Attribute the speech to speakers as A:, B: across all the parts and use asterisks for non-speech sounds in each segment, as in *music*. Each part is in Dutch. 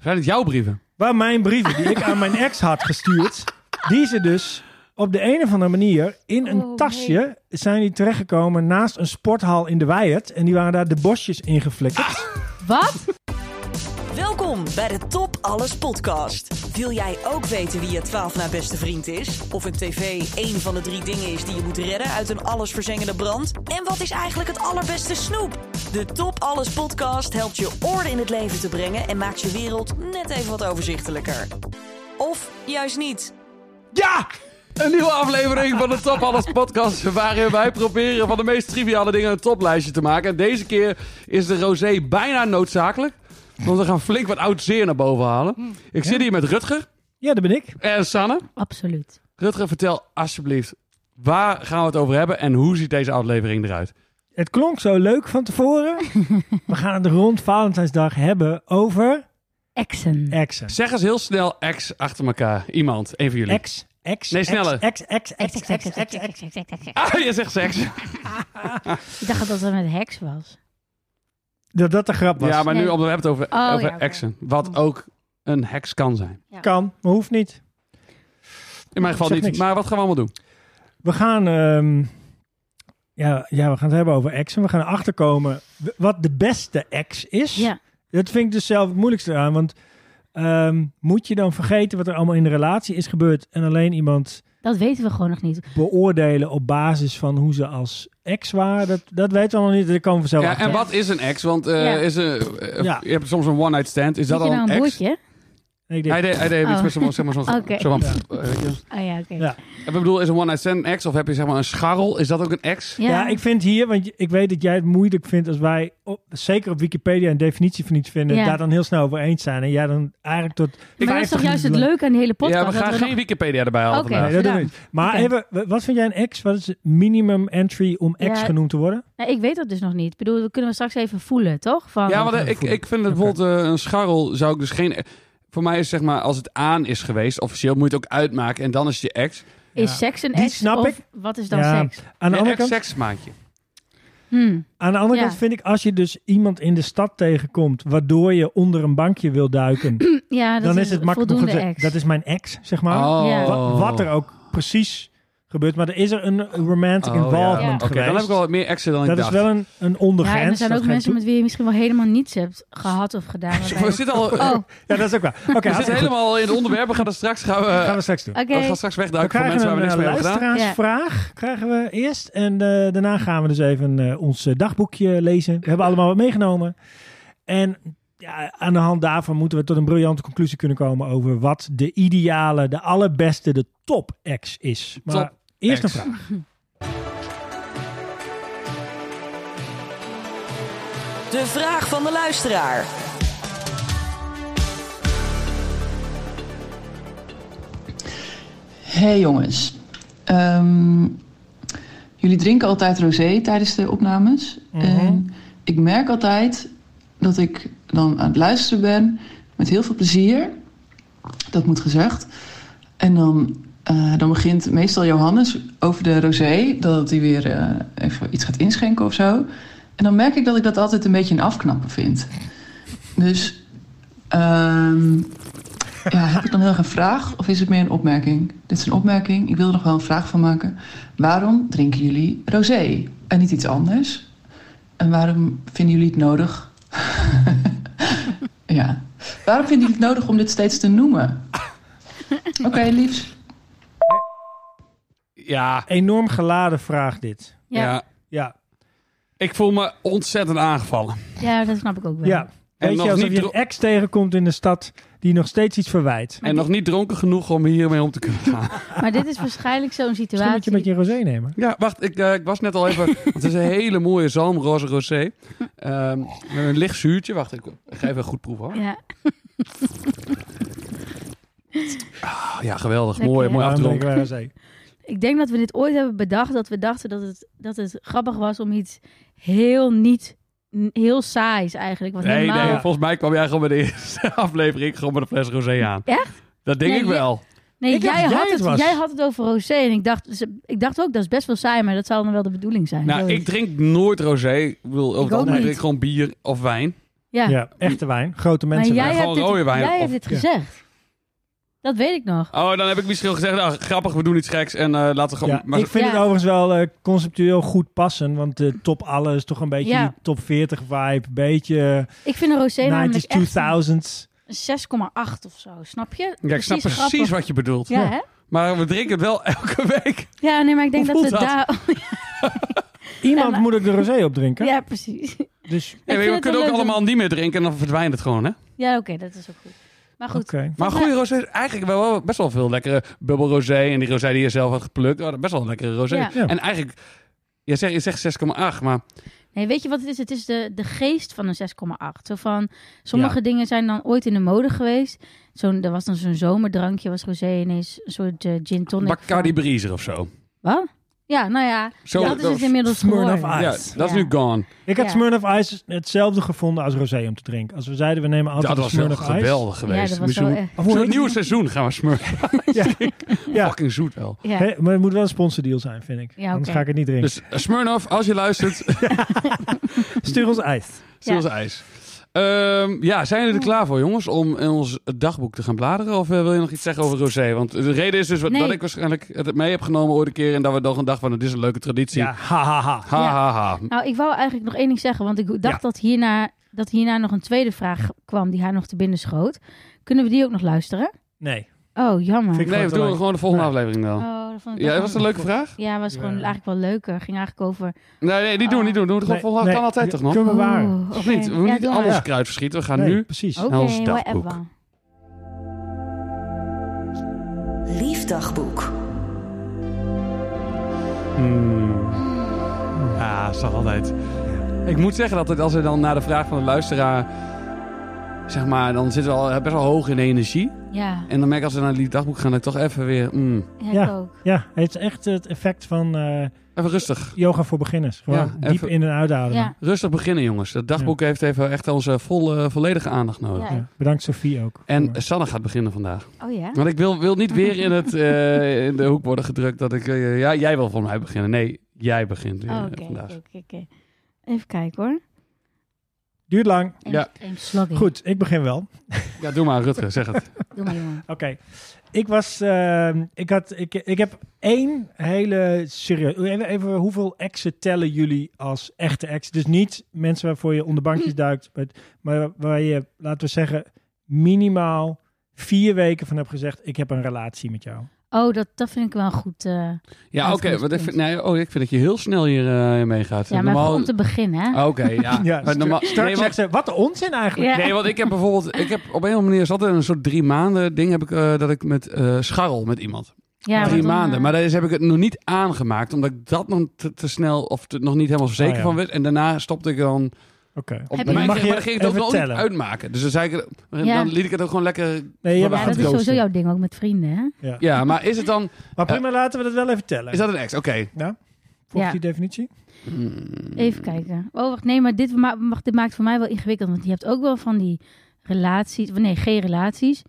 A: Zijn het jouw brieven?
B: Waar mijn brieven die ik aan *laughs* mijn ex had gestuurd, die ze dus op de een of andere manier in een
C: Oh,
B: tasje zijn die terechtgekomen naast een sporthal in de Weijert. En die waren daar de bosjes ingeflikkerd.
C: Wat?
D: Welkom bij de Top Alles podcast. Wil jij ook weten wie je 12 na beste vriend is? Of een tv één van de drie dingen is die je moet redden uit een allesverzengende brand? En wat is eigenlijk het allerbeste snoep? De Top Alles podcast helpt je orde in het leven te brengen en maakt je wereld net even wat overzichtelijker. Of juist niet.
A: Ja! Een nieuwe aflevering van de Top Alles podcast waarin wij proberen van de meest triviale dingen een toplijstje te maken. En deze keer is de rosé bijna noodzakelijk, want we gaan flink wat oud zeer naar boven halen. Ik zit hier met Rutger
B: Ja, dat ben ik.
A: en Sanne.
C: Absoluut.
A: Rutger, vertel alsjeblieft, waar gaan we het over hebben en hoe ziet deze aflevering eruit?
B: Het klonk zo leuk van *laughs* tevoren. We gaan het rond Valentijnsdag hebben over
C: Exen.
B: exen.
A: Zeg eens heel snel ex achter elkaar. Iemand, één van jullie.
B: Ex, ex,
A: Nee,
B: ex,
A: sneller.
B: ex, ex, ex, ex, ex, ex, ex.
A: Ah, je zegt seks.
C: Ik dacht dat het met heks was.
B: Dat dat de grap was.
A: Ja, maar nu
C: Nee.
A: omdat we hebben het over,
C: Oh,
A: over
C: ja, oké.
A: exen. Wat ook een heks kan zijn.
B: Kan, maar hoeft niet.
A: In mijn geval
B: Zeg
A: niet.
B: niks.
A: Maar wat gaan we allemaal doen?
B: We gaan, ehm, ja, ja, we gaan het hebben over exen. We gaan erachter komen w- wat de beste ex is.
C: Ja.
B: Dat vind ik dus zelf het moeilijkste aan. Want ehm, moet je dan vergeten wat er allemaal in de relatie is gebeurd... en alleen iemand
C: Dat weten we gewoon nog niet.
B: beoordelen op basis van hoe ze als ex waren? Dat, dat weten we nog niet. Dat komen we zelf
A: Ja,
B: achter.
A: en wat is een ex? Want eh,
C: Ja.
A: is een, eh,
B: Ja.
A: je hebt soms een one-night stand. Is dat
C: Zit
A: al
C: je
A: een
C: nou een
A: ex?
C: boertje?
B: Ik denk,
A: Hij deed, hij deed iets
C: Oh.
A: met zo'n... Zeg maar, zo'n
C: *laughs* Oké.
A: zo'n-
B: Ja.
A: eh, weet je.
C: Oh ja, oké.
B: Ja.
A: Ik bedoel, is een one-night stand een ex? Of heb je zeg maar een scharrel? Is dat ook een ex?
B: ja. ik vind hier, want je- ik weet dat jij het moeilijk vindt als wij, op, zeker op Wikipedia, een definitie van iets vinden,
C: Ja.
B: daar dan heel snel over eens zijn. En jij dan eigenlijk tot.
C: maar dat is
B: 50
C: toch juist
B: *laughs* minuten
C: het
B: lang-
C: leuke aan die hele podcast?
A: ja, we
C: dat
A: gaan
C: we
A: geen
C: nog-
A: Wikipedia erbij halen
C: Oké.
A: vandaag.
B: Nee, dat doen we
C: Gedaan.
B: niet. Maar
C: Oké.
B: even, wa- wat vind jij een ex? Wat is het minimum entry om ex
C: Ja.
B: genoemd te worden?
C: Nee, ik weet dat dus nog niet. Ik bedoel, dat kunnen we straks even voelen, toch? Van,
A: Ja, want
B: gaan
A: eh,
B: we
A: ik,
B: voelen.
A: ik vind het bijvoorbeeld eh, een scharrel zou ik dus geen... Voor mij is zeg maar, als het aan is geweest, officieel moet je het ook uitmaken en dan is het je ex.
C: is
B: Ja.
C: seks een
B: Die
C: ex?
B: snap
C: of
B: ik.
C: wat is dan
B: Ja.
C: seks?
B: Aan de,
A: Een
B: andere
A: ex
B: kant,
A: seksmaatje.
C: Hm.
B: aan de andere
C: Ja.
B: kant vind ik, als je dus iemand in de stad tegenkomt, waardoor je onder een bankje wil
C: *clears throat*
B: duiken,
C: Ja, dat
B: dan
C: is,
B: is het makkelijk. om
C: voldoende
B: goed te-
C: ex.
B: Dat is mijn ex, zeg maar.
A: Oh.
C: Ja.
B: Wa- Wat er ook precies gebeurt. Maar er is er een romantic
A: Oh, ja.
B: involvement
A: Oké,
B: geweest.
A: dan heb ik wel wat meer exen dan
B: dat
A: ik
B: is
A: dacht.
B: wel een, een ondergrens.
C: ja, en er zijn
B: dat
C: ook
B: geeft
C: mensen
B: toe.
C: met wie je misschien wel helemaal niets hebt gehad of
B: *laughs*
C: gedaan. waarbij-
A: We zitten al...
C: Oh, oké.
B: Ja, dat is ook
A: *laughs*
B: waar. Oké,
A: We
B: hartstikke
A: zitten
B: goed.
A: helemaal in het onderwerp. We gaan er straks gaan we,
B: Dat gaan we straks doen.
A: we gaan straks
B: We
A: wegduiken van
B: krijgen
A: mensen waar we
B: een
A: niks
B: eh,
A: mee hebben gedaan.
B: luisteraarsvraag. Krijgen we eerst. En eh, daarna gaan we dus even eh, ons eh, dagboekje lezen. We hebben allemaal wat meegenomen. En ja, aan de hand daarvan moeten we tot een briljante conclusie kunnen komen over wat de ideale, de allerbeste, de top-ex is. Maar
A: Top
B: eerst
A: ex.
B: een vraag.
D: De vraag van de luisteraar.
E: Hey jongens. Ehm, jullie drinken altijd rosé tijdens de opnames. En ik merk altijd dat ik dan aan het luisteren ben met heel veel plezier. Dat moet gezegd. En dan, eh, dan begint meestal Johannes over de rosé, dat hij weer eh, even iets gaat inschenken of zo. En dan merk ik dat ik dat altijd een beetje een afknappen vind. Dus ehm, ja, Eh, heb ik dan heel erg een vraag of is het meer een opmerking? Dit is een opmerking, ik wil er nog wel een vraag van maken. Waarom drinken jullie rosé en niet iets anders? En waarom vinden jullie het nodig? *laughs* ja. Waarom vinden jullie het nodig om dit steeds te noemen? Oké, liefs.
A: Ja,
B: Enorm geladen vraag dit.
A: ja.
C: Ja,
B: Ja,
A: Ik voel me ontzettend aangevallen.
C: ja, dat snap ik ook wel.
B: ja. Weet
A: nog
B: je, alsof
A: niet
B: je
A: dro-
B: een ex tegenkomt in de stad die nog steeds iets verwijt.
A: en nog niet dronken genoeg om hiermee om te kunnen gaan.
C: Maar dit is waarschijnlijk zo'n situatie.
B: Misschien moet je met je rosé nemen.
A: ja, wacht. Ik, eh, ik was net al even... want Het is een hele mooie zalmroze rosé. Ehm, met een licht zuurtje. Wacht, ik, ik ga even een goed proeven. hoor.
C: Ja,
A: Ah, ja, geweldig.
C: Lekker,
A: mooi,
C: hè?
A: mooi
B: Waarom
A: afdronken.
B: drinken wij rosé?
C: ik denk dat we dit ooit hebben bedacht. Dat we dachten dat het, dat het grappig was om iets heel niet... n- Heel saais eigenlijk. Wat
A: Nee,
C: helemaal...
A: nee. Volgens mij kwam jij gewoon bij de eerste *laughs* aflevering gewoon met een fles rosé aan.
C: Echt?
A: Dat denk
C: Nee,
A: ik
C: je-
A: wel.
C: Nee,
B: Ik dacht
C: jij,
B: dat jij
C: had
B: het was.
C: het, jij had het over rosé. En ik dacht, dus, ik dacht ook, dat is best wel saai. Maar dat zal dan wel de bedoeling zijn.
A: Nou,
C: Zoiets.
A: ik drink nooit rosé. Ik bedoel, over
C: Ik
A: het
C: ook
A: algemeen
C: niet.
A: drink ik gewoon bier of wijn.
C: Ja.
B: Ja. echte wijn. Grote
C: Maar
B: mensen.
C: jij
A: Gewoon
C: hebt, dit,
A: rode wijn
C: jij
A: of-
C: hebt dit
B: ja.
C: gezegd. Dat weet ik nog.
A: Oh, dan heb ik misschien al gezegd, nou, grappig, we doen iets geks en eh, laten we gewoon...
B: Ja,
A: maar
B: ik vind
C: Ja.
B: het overigens wel eh, conceptueel goed passen. Want de top alles is toch een beetje
C: Ja.
B: die top 40 vibe. Beetje
C: Ik vind een rosé namelijk
B: 90s,
C: echt een
B: 2000s.
C: 6,8 of zo. Snap je?
A: ja, ik snap precies
C: grappig.
A: wat je bedoelt.
C: Ja, hè?
A: Maar we drinken het wel *laughs* elke week.
C: Ja, nee, maar ik denk
A: Hoe
C: dat we
A: voelt dat?
C: daar...
B: Iemand
C: Ja, maar-
B: moet ook de rosé opdrinken.
C: *laughs* Ja, precies.
B: Dus,
A: Ja,
C: vind
A: we
C: het wel
A: kunnen ook
C: leuk
A: allemaal niet meer drinken en dan verdwijnt het gewoon, hè?
C: Ja, oké, dat is ook goed. Maar goed,
B: oké.
A: Maar
C: Ja.
A: goede rosé, eigenlijk wel- wel best wel veel lekkere bubbel rosé. En die rosé die je zelf had geplukt, oh, best wel een lekkere rosé.
C: Ja.
B: Ja.
A: En eigenlijk, je zegt, je zegt 6,8, maar
C: Nee, weet je wat het is? Het is de, de geest van een 6,8. Zo van, sommige dingen zijn dan ooit in de mode geweest. Zo'n, er was dan zo'n zomerdrankje, was rosé ineens een soort eh, gin tonic.
A: Bacardi
C: van-
A: Breezer of zo.
C: Wat? Ja, nou ja,
A: Zo-
C: dat is het inmiddels
B: Smirnoff
C: geworden.
B: Ice.
A: Ja,
B: Ice.
A: dat is
C: Ja.
A: nu gone.
B: Ik had
C: Ja.
B: Smirnoff Ice hetzelfde gevonden als rosé om te drinken. Als we zeiden, we nemen altijd
A: dat was wel
B: Smirnoff Ice.
A: geweldig
C: Ja,
A: geweest.
C: dat
A: Ja,
C: was wel eh,
A: Zo'n
C: echt...
B: Of hoe heet die
A: nieuw
B: nou?
A: seizoen gaan we smurfen.
B: Ja.
A: *laughs* Fucking zoet wel.
C: Ja.
B: Hé, maar het moet wel een sponsordeal zijn, vind ik.
C: Ja,
B: Anders
C: oké.
B: ga ik het niet drinken.
A: Dus eh, Smirnoff, als je luistert, Dus-
B: Stuur ons ijs.
A: stil als ijs. Ehm, ja, zijn jullie er klaar voor, jongens, om in ons dagboek te gaan bladeren? Of eh, wil je nog iets zeggen over Rosé? Want de reden is dus wat,
C: Nee.
A: dat ik waarschijnlijk het mee heb genomen ooit een keer. En dat we nog een dag van, het is een leuke traditie.
B: Ja, ha, ha, ha.
A: Ha,
C: Ja.
A: ha, ha.
C: Nou, ik wou eigenlijk nog één ding zeggen, want ik dacht
B: Ja.
C: dat, hierna, dat hierna nog een tweede vraag kwam die haar nog te binnen schoot. Kunnen we die ook nog luisteren?
B: Nee.
C: Oh, jammer.
A: Nee,
B: Vind ik
A: we
B: gewoon te
A: doen
B: leuk.
A: gewoon de volgende
B: Ja.
A: aflevering dan.
C: Oh, dat vond ik
A: Ja,
C: ook
A: was dat
C: wel-
A: een leuke vraag?
C: Ja, was gewoon
B: Ja.
C: eigenlijk wel leuker. Ging eigenlijk over...
A: Nee, nee, niet doen, niet doen. Doe het gewoon
B: Nee,
A: volgende.
B: nee,
A: Kan altijd toch nog?
B: Kunnen we waar?
C: Oeh, Oh.
A: Of
C: Oh. oké.
A: niet? We moeten
C: Ja,
A: niet
C: doe maar.
A: alles
B: Ja.
A: kruid verschieten. We gaan
B: Nee,
A: nu...
B: Precies.
C: Oké,
A: Ons dagboek.
C: whatever.
D: Liefdagboek.
A: Ja, dat is toch altijd. Ik moet zeggen dat het, als we dan naar de vraag van de luisteraar. zeg maar, dan zitten we al eh, best wel hoog in de energie.
C: Ja,
A: En dan merk ik als we naar die dagboek gaan, dat ik toch even weer. mm,
C: ja, ik
B: Ja.
C: ook.
B: Ja, het is echt het effect van eh,
A: even rustig.
B: yoga voor beginners. Gewoon
A: Ja, even-
B: diep in en uitademen.
C: Ja,
B: Ja.
A: Rustig beginnen, jongens. Dat dagboek heeft even echt onze volle, volledige aandacht nodig.
C: Ja.
B: Bedankt Sofie ook.
A: En
B: voor-
A: Sanne gaat beginnen vandaag.
C: oh ja.
A: Want ik wil, wil niet weer in, het, eh, in de hoek worden gedrukt dat ik. eh, ja, jij wil voor mij beginnen. Nee, jij begint eh,
C: Oh, Oké,
A: vandaag.
C: oké, oké, oké. Even kijken hoor.
B: Duurt lang.
C: Eén,
A: Ja.
C: één slokje.
B: Goed, ik begin wel.
A: Ja, doe maar, Rutger, zeg het.
C: Doe maar, jongen.
B: Oké. Ik was. ehm, ik, had, ik, ik heb één hele serieus. Even, even hoeveel exen tellen jullie als echte ex? Dus niet mensen waarvoor je onder
C: Hm.
B: bankjes duikt. Maar, maar waar je, laten we zeggen, minimaal vier weken van hebt gezegd: Ik heb een relatie met jou.
C: Oh, dat, dat vind ik wel een goed. eh,
A: Ja, oké. want ik vind- nee, oh, ik vind dat je heel snel hier eh, mee gaat.
C: ja, maar
A: Normaal- Oh, Ah,
C: om te beginnen, hè?
A: Oké, ja. maar
B: sta-
A: eh, normaal,
B: straks
A: nee,
B: zegt
A: want,
B: ze: Wat een onzin eigenlijk.
C: ja.
A: nee, want ik heb bijvoorbeeld... Ik heb op een of andere manier is altijd een soort drie maanden ding... Heb ik, eh, dat ik met eh, scharrel met iemand.
C: Ja, want
A: drie
C: dan,
A: maanden.
C: eh,
A: Maar daar is- heb ik het nog niet aangemaakt. Omdat ik dat nog te, te snel... Of te- nog niet helemaal zeker
B: Oh ja.
A: van werd. En daarna stopte ik dan...
B: Oké.
A: Op,
C: Heb
A: maar
C: je-
A: ik
C: Mag
A: ging-
B: je
A: maar dan ging ik het ook
B: even
A: nog niet
B: tellen?
A: uitmaken. Dus dan, zei ik, dan
C: Ja.
A: liet ik het ook gewoon lekker...
B: Nee, je
A: Ja,
B: mag het
C: ja, dat is sowieso
B: ghosten.
C: jouw ding ook met vrienden, hè?
A: Mm. Ja, maar is het dan...
B: Maar prima, laten we dat wel even tellen.
A: Is dat een ex? Oké.
B: Volgens
C: Ja.
B: die definitie?
C: Even kijken. Oh, wacht. Nee, maar dit, ma- mag, dit maakt voor mij wel ingewikkeld. Want je hebt ook wel van die relaties... Nee, geen relaties.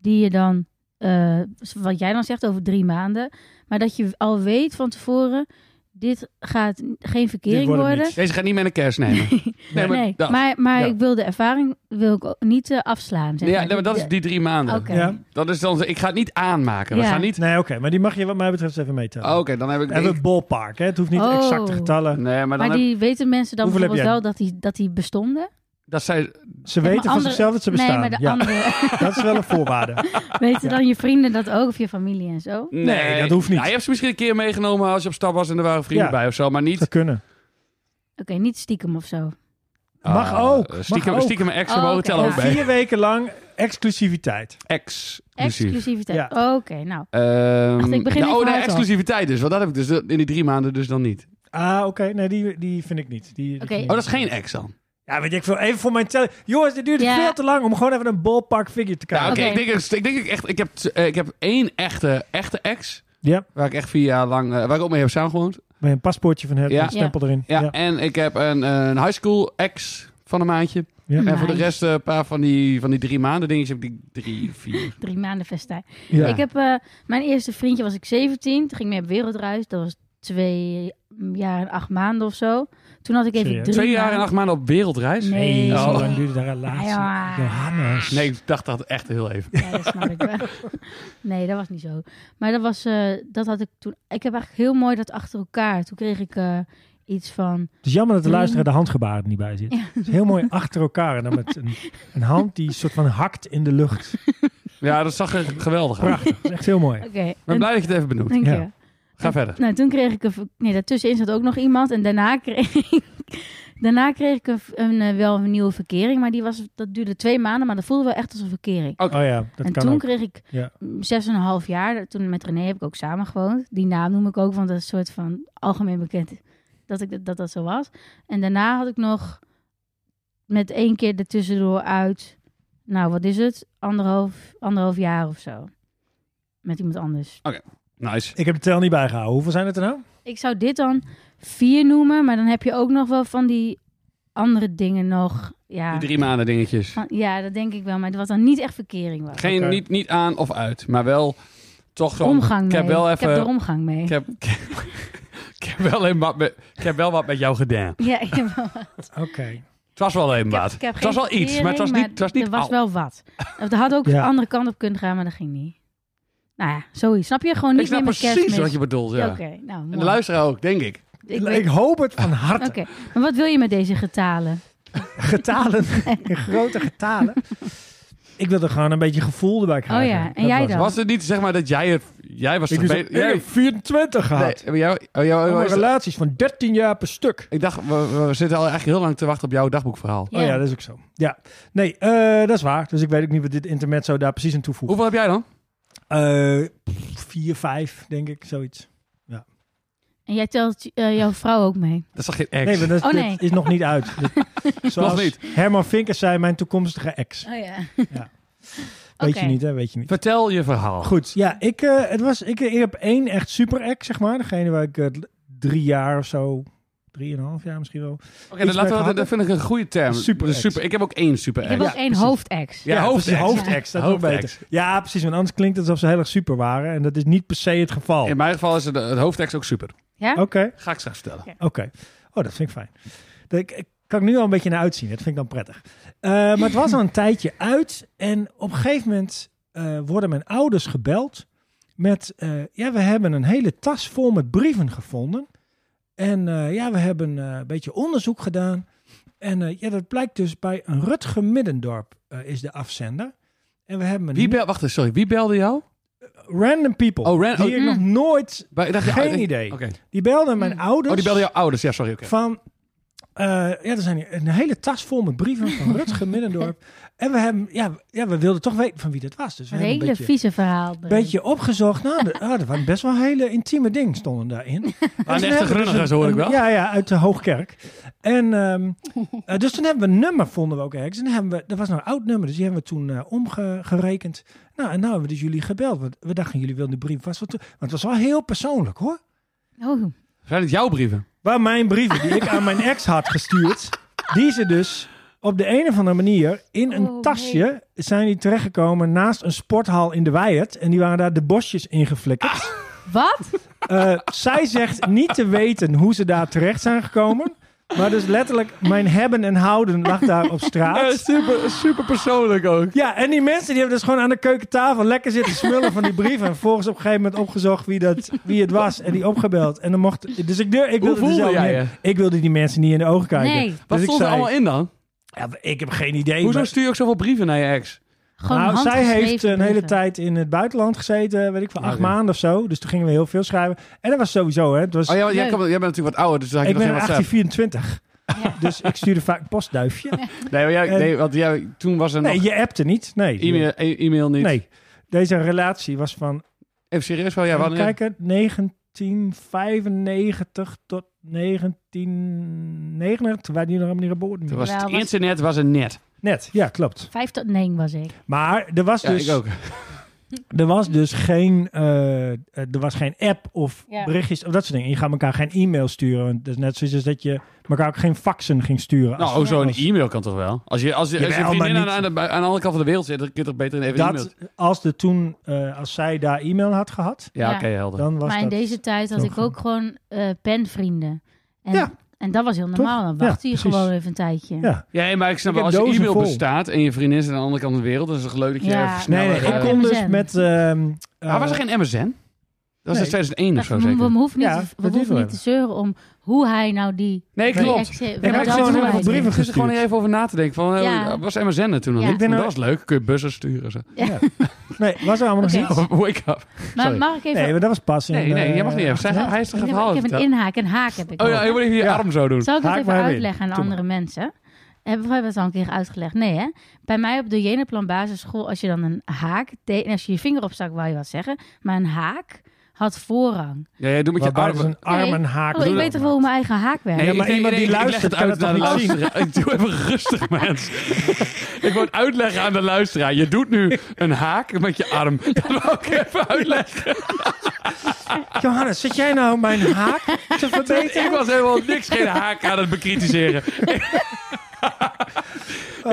C: Die je dan... eh, wat jij dan zegt over drie maanden. Maar dat je al weet van tevoren... Dit gaat n- geen verkering
B: Dit wordt het
C: worden.
B: niet.
A: Deze gaat niet met een kerst
C: *laughs*
A: nemen. Nee, maar
C: nee,
A: dat-
C: maar, maar
B: Ja.
C: ik wil de ervaring wil ik ook niet eh, afslaan. Zeg
A: Ja,
C: maar.
A: nee, maar dat is
C: Dit-
A: die drie maanden.
C: Oké.
B: Ja.
A: Dat is dan, ik ga het niet aanmaken. We
C: Ja.
A: gaan niet... Oh,
B: Nee, oké. maar die mag je, wat mij betreft, even meetellen.
A: Oké, dan heb ik...
B: Even het ballpark, hè? Het hoeft niet
C: Oh.
B: exacte getallen.
A: Nee, maar dan
C: Maar
A: heb-
C: die weten mensen dan
B: Hoeveel heb
C: bijvoorbeeld wel dat die, dat die bestonden?
A: dat zij...
B: Ze
C: Ja, maar
B: weten van
C: andere-
B: zichzelf dat ze bestaan.
C: Nee, maar de
B: ja, *laughs*
C: anderen.
B: dat is wel een
C: *laughs*
B: voorwaarde.
C: weten dan je vrienden dat ook? Of je familie en zo?
A: Nee,
B: dat hoeft niet.
A: Nou, je hebt ze misschien een keer meegenomen als je op stap was en er waren vrienden
B: Ja.
A: bij of zo, maar niet...
B: Dat kunnen.
C: Oké, niet stiekem of zo.
B: Mag
A: Ah,
B: ook,
A: eh,
B: mag
A: Stiekem,
B: ook.
A: stiekem een extra
C: Oh,
A: mogen
C: oké,
A: tellen ook
C: ja.
A: bij.
B: Vier weken lang exclusiviteit.
A: Exclusief.
C: Exclusiviteit.
B: Ja.
C: Oké, nou.
A: Ehm,
C: Wacht, ik begin
A: ja,
C: even
A: oh, de
C: uit al.
A: exclusiviteit dus. Want dat heb ik dus in die drie maanden dus dan niet.
B: Ah, oké. Nee, die, die vind ik niet. Die, die
C: Oké.
B: vind ik
A: Oh, dat
B: niet.
A: is geen ex dan.
B: Ja, weet je, ik wil even voor mijn tellen. Jongens, dit duurt
C: Ja.
B: veel te lang om gewoon even een ballpark figure te
A: Ja,
B: krijgen.
A: oké.
C: Oké.
A: Ik denk, dat- ik denk dat ik echt... Ik heb, t- eh, ik heb één echte, echte ex,
B: Ja,
A: waar ik echt vier jaar lang... eh, waar ik ook mee heb samengewoond.
B: waar je een paspoortje van hebt,
A: Ja.
B: een stempel erin.
A: Ja,
B: Ja.
A: en ik heb een, een high school ex van een maandje.
B: Ja.
A: En voor de
C: Nice.
A: rest eh, een paar van die, van die drie maanden dingetjes heb ik die drie, vier.
C: Drie maanden festijn.
A: Ja.
C: Ik heb, eh, mijn eerste vriendje was ik 17. Toen ging ik mee op wereldreis. Dat was twee jaar en acht maanden of zo. Toen had ik even
B: Serieus?
C: drie
A: Twee jaar en acht maanden op wereldreis?
C: Nee.
B: Hey, zo
A: Oh.
B: lang duurde de relatie.
C: Ja.
B: Johannes.
A: Nee, ik dacht dat echt heel even.
C: Ja, dat snap ik wel. Nee, dat was niet zo. Maar dat was, eh, dat had ik toen. Ik heb eigenlijk heel mooi dat achter elkaar. Toen kreeg ik eh, iets van.
B: Het is jammer dat de
C: Drie.
B: luisteraar de handgebaren er niet bij zit. Het is heel mooi achter elkaar. En dan met een, een hand die soort van hakt in de lucht.
A: Ja, dat zag er geweldig uit.
B: Prachtig. Dat is echt heel mooi. Oh
C: Oké.
A: Ik ben
C: en-
A: blij dat je het even benoemt.
C: Dank
B: Ja.
C: je.
A: Ga verder.
C: Nou, toen kreeg ik een. ver- Nee, daartussenin zat ook nog iemand. En daarna *laughs* kreeg ik. Daarna kreeg ik een, een, eh, wel een nieuwe verkering. Maar die was, dat duurde twee maanden. Maar dat voelde wel echt als een verkering.
B: Oh ja, dat
C: en
B: kan
C: toen
B: ook.
C: kreeg ik
B: Ja.
C: mm, zes en een half jaar. Toen met René heb ik ook samen gewoond. Die naam noem ik ook, want dat is een soort van algemeen bekend dat ik, dat- dat dat zo was. En daarna had ik nog met één keer ertussendoor uit, nou wat is het, anderhalf, anderhalf jaar of zo. Met iemand anders.
A: Nice.
B: Ik heb de tel niet bijgehouden. Hoeveel zijn het er nou?
C: Ik zou dit dan vier noemen, maar dan heb je ook nog wel van die andere dingen nog. Ja,
A: Die drie maanden dingetjes.
C: van- ja dat denk ik wel, maar wat dan niet echt verkering was.
A: Geen,
B: Oké.
A: niet, niet aan of uit, maar wel toch zo'n...
C: omgang mee.
A: Ik heb wel even...
C: ik heb er omgang mee.
A: ik heb, *laughs* ik heb- ik heb wel een wat met, ik heb wel wat met jou gedaan.
C: *laughs* Ja, ik heb wel
B: Oké.
A: Het was wel een
C: Ik heb-
A: wat.
C: ik heb
A: Het was
C: geen
A: wel iets, maar het was niet...
C: verkering,
A: Het was niet
C: er was
A: al.
C: wel wat. Er had ook
B: Ja.
C: de andere kant op kunnen gaan, maar dat ging niet. Nou ja, zoiets. Snap je? Gewoon niet
A: ik snap
C: meer met
A: precies
C: kerstmis.
A: wat je bedoelt, ja.
C: Oké, nou
A: En
C: mooi.
A: de luisteraar ook, denk ik.
C: Ik
B: Ik,
C: weet-
B: *laughs* hoop het van
C: Oké,
B: harte.
C: maar wat wil je met deze getalen? *laughs*
B: Getalen. In grote getalen. Ik wil er gewoon een beetje gevoel erbij krijgen.
C: Oh ja, en
B: Dat was
C: jij dan?
B: het.
A: Was het niet zeg maar dat jij het... Jij was...
B: Ik, was
A: verbe-
B: op- ik
A: jij,
B: heb 24 gehad.
A: nee, maar jou, oh, jou-
B: Allemaal
A: jou-
B: relaties van 13 jaar per stuk.
A: ik dacht, we, we zitten al echt heel lang te wachten op jouw dagboekverhaal.
B: Oh ja, dat is ook zo. Ja. Nee, eh, dat is waar. Dus ik weet ook niet wat dit internet zo daar precies aan toevoegt.
A: Hoeveel heb jij dan?
B: Eh vier, vijf, denk ik, zoiets.
C: En jij telt eh, jouw vrouw ook mee.
A: Dat zag geen ex.
B: Nee, maar dat,
C: Oh,
B: dit
C: nee.
B: is nog niet uit.
C: *laughs*
B: Dit- Zoals
A: Nog
B: Herman Vinkers zei, mijn toekomstige ex.
C: Oh *laughs* ja.
B: Weet
C: Oké.
B: je niet, hè? Weet je niet.
A: Vertel je verhaal.
B: Goed, ja, ik, eh, het was, ik, ik heb één echt super ex, zeg maar. Degene waar ik eh, drie jaar of zo, drieënhalf jaar misschien wel.
A: Oké, dat,
B: Iets
A: laten we,
B: mee
A: dat- dat vind ik een goede term.
B: Super
A: De
B: ex.
A: super ik heb ook één super
C: Ik
A: ex.
C: heb ook
B: eh, Ja,
C: één
B: precies.
C: hoofdex.
A: Ja, hoofdex.
B: precies, hoofdex, dat is ook
A: Hoofdex.
B: beter. Ja, precies, want anders klinkt het alsof ze heel erg super waren. En dat is niet per se het geval.
A: In
B: Oké,
A: mijn geval is het, het hoofdex ook super.
C: Ja?
B: oké.
A: Oh. Ga ik straks vertellen.
B: Oh, dat vind ik fijn. Dat ik, ik kan ik nu al een beetje naar uitzien. Dat vind ik dan prettig. Eh, maar het was al een tijdje uit. En op een gegeven moment eh, worden mijn ouders gebeld. Met, eh, ja, we hebben een hele tas vol met brieven gevonden. En eh, ja, we hebben eh, een beetje onderzoek gedaan. En eh, ja, dat blijkt dus bij een Rutger Middendorp eh, is de afzender. En we hebben een
A: Wie bel, wacht, eens, sorry. Wie belde jou?
B: random people.
A: Oh, ran-
B: die
A: oh,
B: ik
C: mm.
B: nog nooit...
A: Bij- ik dacht,
B: Geen
A: ik-
B: idee.
A: oké.
B: Die belden mijn
C: Mm.
B: ouders.
A: Oh, die belde jouw ouders. Ja, sorry. oké.
B: Van, eh, ja, er zijn hier een hele tas vol met brieven
A: *laughs*
B: van Rutger Middendorp. En we hebben, ja, ja, we wilden toch weten van wie dat was. Dus we
C: Een
B: hebben
C: hele
B: een beetje,
C: vieze verhaal. erin.
B: beetje opgezocht. Nou, de- ah, er waren best wel hele intieme dingen stonden daarin. En
A: Maar een
B: toen
A: echte
B: hebben we dus
A: grunnige,
B: een-
A: zo hoor ik
B: een-
A: wel.
B: Ja, ja, uit de Hoogkerk. En ehm,
A: *laughs*
B: eh, dus toen hebben we een nummer, vonden we ook ergens. En dan hebben we, dat was nou een oud nummer, dus die hebben we toen eh, omgerekend. Nou, en nou hebben we dus jullie gebeld. Want we dachten, jullie wilden de brief vast wel toe. Maar het was wel heel persoonlijk, hoor.
C: Oh,
A: Zijn het jouw brieven?
B: Waar mijn brieven die ik aan mijn ex had gestuurd, die ze dus op de een of andere manier in een
C: Oh,
B: tasje zijn die terechtgekomen naast een sporthal in de Weijert. En die waren daar de bosjes ingeflikkerd.
C: wat?
B: Eh, zij zegt niet te weten hoe ze daar terecht zijn gekomen. Maar dus letterlijk, mijn hebben en houden lag daar op straat.
A: super, super persoonlijk ook.
B: Ja, en die mensen die hebben dus gewoon aan de keukentafel lekker zitten smullen van die brieven. En volgens op een gegeven moment opgezocht wie, dat, wie het was en die opgebeld. En dan mocht... Dus ik, deur, ik wilde er
A: voelde
B: zelf
A: jij
B: niet in. Ik wilde die mensen niet in de ogen kijken.
C: Nee.
A: Wat
B: dus ik
A: stond er
B: zei,
A: allemaal in dan?
B: ja, maar ik heb geen idee.
A: Hoezo
B: maar-
A: stuur je ook zoveel brieven naar je ex?
C: Gewoon
B: nou, zij
C: handgeschreven
B: heeft een hele
C: brieven.
B: tijd in het buitenland gezeten, weet ik veel,
A: Oh, Ja,
B: acht
A: oké.
B: maanden of zo. Dus toen gingen we heel veel schrijven. En dat was sowieso, hè. Het was,
A: Oh, jij, jij,
C: Leuk.
A: kan- jij bent natuurlijk wat ouder, dus dan had je
B: ik
A: nog
B: ben
A: geen WhatsApp.
B: 1824,
C: Ja.
B: dus ik stuurde vaak een
A: *laughs*
B: postduifje.
A: Nee, maar jij,
B: En-
A: nee, want jij, toen was er
B: Nee,
A: nog
B: je appte niet. Nee.
A: e-mail, e- e-mail niet.
B: Nee. Deze relatie was van
A: Even serieus wel, ja,
B: Even
A: wanneer?
B: kijken, 1995 tot 1999, toen waren die nog helemaal niet geboren.
A: Toen was het
C: Wel, was-
A: internet was er net.
B: Net, ja, klopt.
C: Vijf tot negen was ik.
B: Maar er was
A: Ja,
B: dus,
A: ik ook.
B: er was dus geen, eh, eh, er was geen app of
C: Ja.
B: berichtjes of dat soort dingen. Je gaat elkaar geen e-mail sturen. Want dat is net zoiets als dat je elkaar ook geen faxen ging sturen. als-
A: Nou, oh, zo'n
B: als-
A: e-mail kan toch wel? Als je, als je, als je
B: Jawel, maar
A: vriendin aan,
B: niet-
A: aan de, aan de andere kant van de wereld zit, dan kun je toch beter even e-mail...
B: dat, als, de toen, eh, als zij daar e-mail had gehad,
A: Ja,
C: Ja.
A: oké, helder.
B: dan was
C: maar in
B: dat...
C: deze tijd had
B: zo
C: ik ook gewoon eh, penvrienden. En,
B: Ja.
C: En dat was heel normaal. Dan
B: Ja,
C: wachtte je
B: precies.
C: gewoon even een tijdje.
B: Ja.
A: Ja, nee, maar ik snap
B: Ik
A: wel, als
B: heb
A: je
B: dozen
A: e-mail
B: vol.
A: bestaat en je vriendin is aan de andere kant van de wereld, dan is het leuk dat je
C: Ja.
A: even
B: Nee, nee,
A: sneller,
B: ik
A: eh,
B: kom dus
C: MSN.
B: met... ehm,
A: Maar was er
B: eh,
A: geen MSN? Dat was
B: Nee.
A: in 2001 of
C: Dat-
A: zo
C: we,
A: zeker.
C: we hoeven niet,
B: Ja,
C: te- we
B: dat
C: hoeven
B: wil
C: niet te zeuren om hoe hij nou die...
A: Nee,
B: Nee.
A: klopt.
C: ex-
A: Ja,
C: dat
A: maar ik
C: dat
A: zit gewoon
C: hoe
A: heel
C: hij
A: veel
B: veel
C: deed.
B: brieven
A: Ik zit er
B: gestuurd.
A: gewoon niet even over na te denken. Van, eh,
C: Ja.
A: Was MSN er toen nog?
C: Ja.
A: Ik denk
B: Ik
A: dat
B: denk
A: was leuk. Kun je bussen sturen. Zo. *laughs*
B: Nee, was er allemaal nog
C: Oké.
B: niet.
A: Wake up.
C: Maar
A: Sorry.
C: mag ik even...
B: Nee, maar dat was pas. in,
A: Nee, nee,
B: eh,
A: je mag niet even. Zij- Hij is toch een
C: ik, heb,
A: verhaal.
C: ik heb een
A: verteld?
C: inhaak en haak heb ik
A: Oh
C: nog.
A: ja, je moet even je
B: Ja.
A: arm zo doen.
C: Zal ik het
B: Haak
C: even
B: maar in.
C: uitleggen aan
B: Doe
C: andere mensen? Hebben we het al een keer uitgelegd? Nee, hè? Bij mij op de Jenaplan basisschool, als je dan een haak... te- en Als je je vinger opstak, wou je wat zeggen. Maar een haak had voorrang.
A: Ja, jij doet met je
B: Waarbij
A: arm.
B: dus een arm en haak.
C: Oh, ik weet toch wel hoe mijn eigen haak werkt?
A: Nee,
B: Ja,
A: ik
B: maar
A: denk-
B: iemand
A: nee,
B: die
A: ik leg
B: luistert
A: het
B: kan
A: uit naar
B: dat
A: de
B: toch niet zien?
A: luisteraar. *laughs* Ik doe even rustig, mens. Ik word uitleggen aan de luisteraar. Je doet nu een haak met je arm. *laughs* Dat wil ik even *laughs* uitleggen.
B: Johannes, zit jij nou mijn
C: *laughs*
B: haak te verbeteren?
A: Ik was helemaal niks, geen haak aan het *laughs* bekritiseren.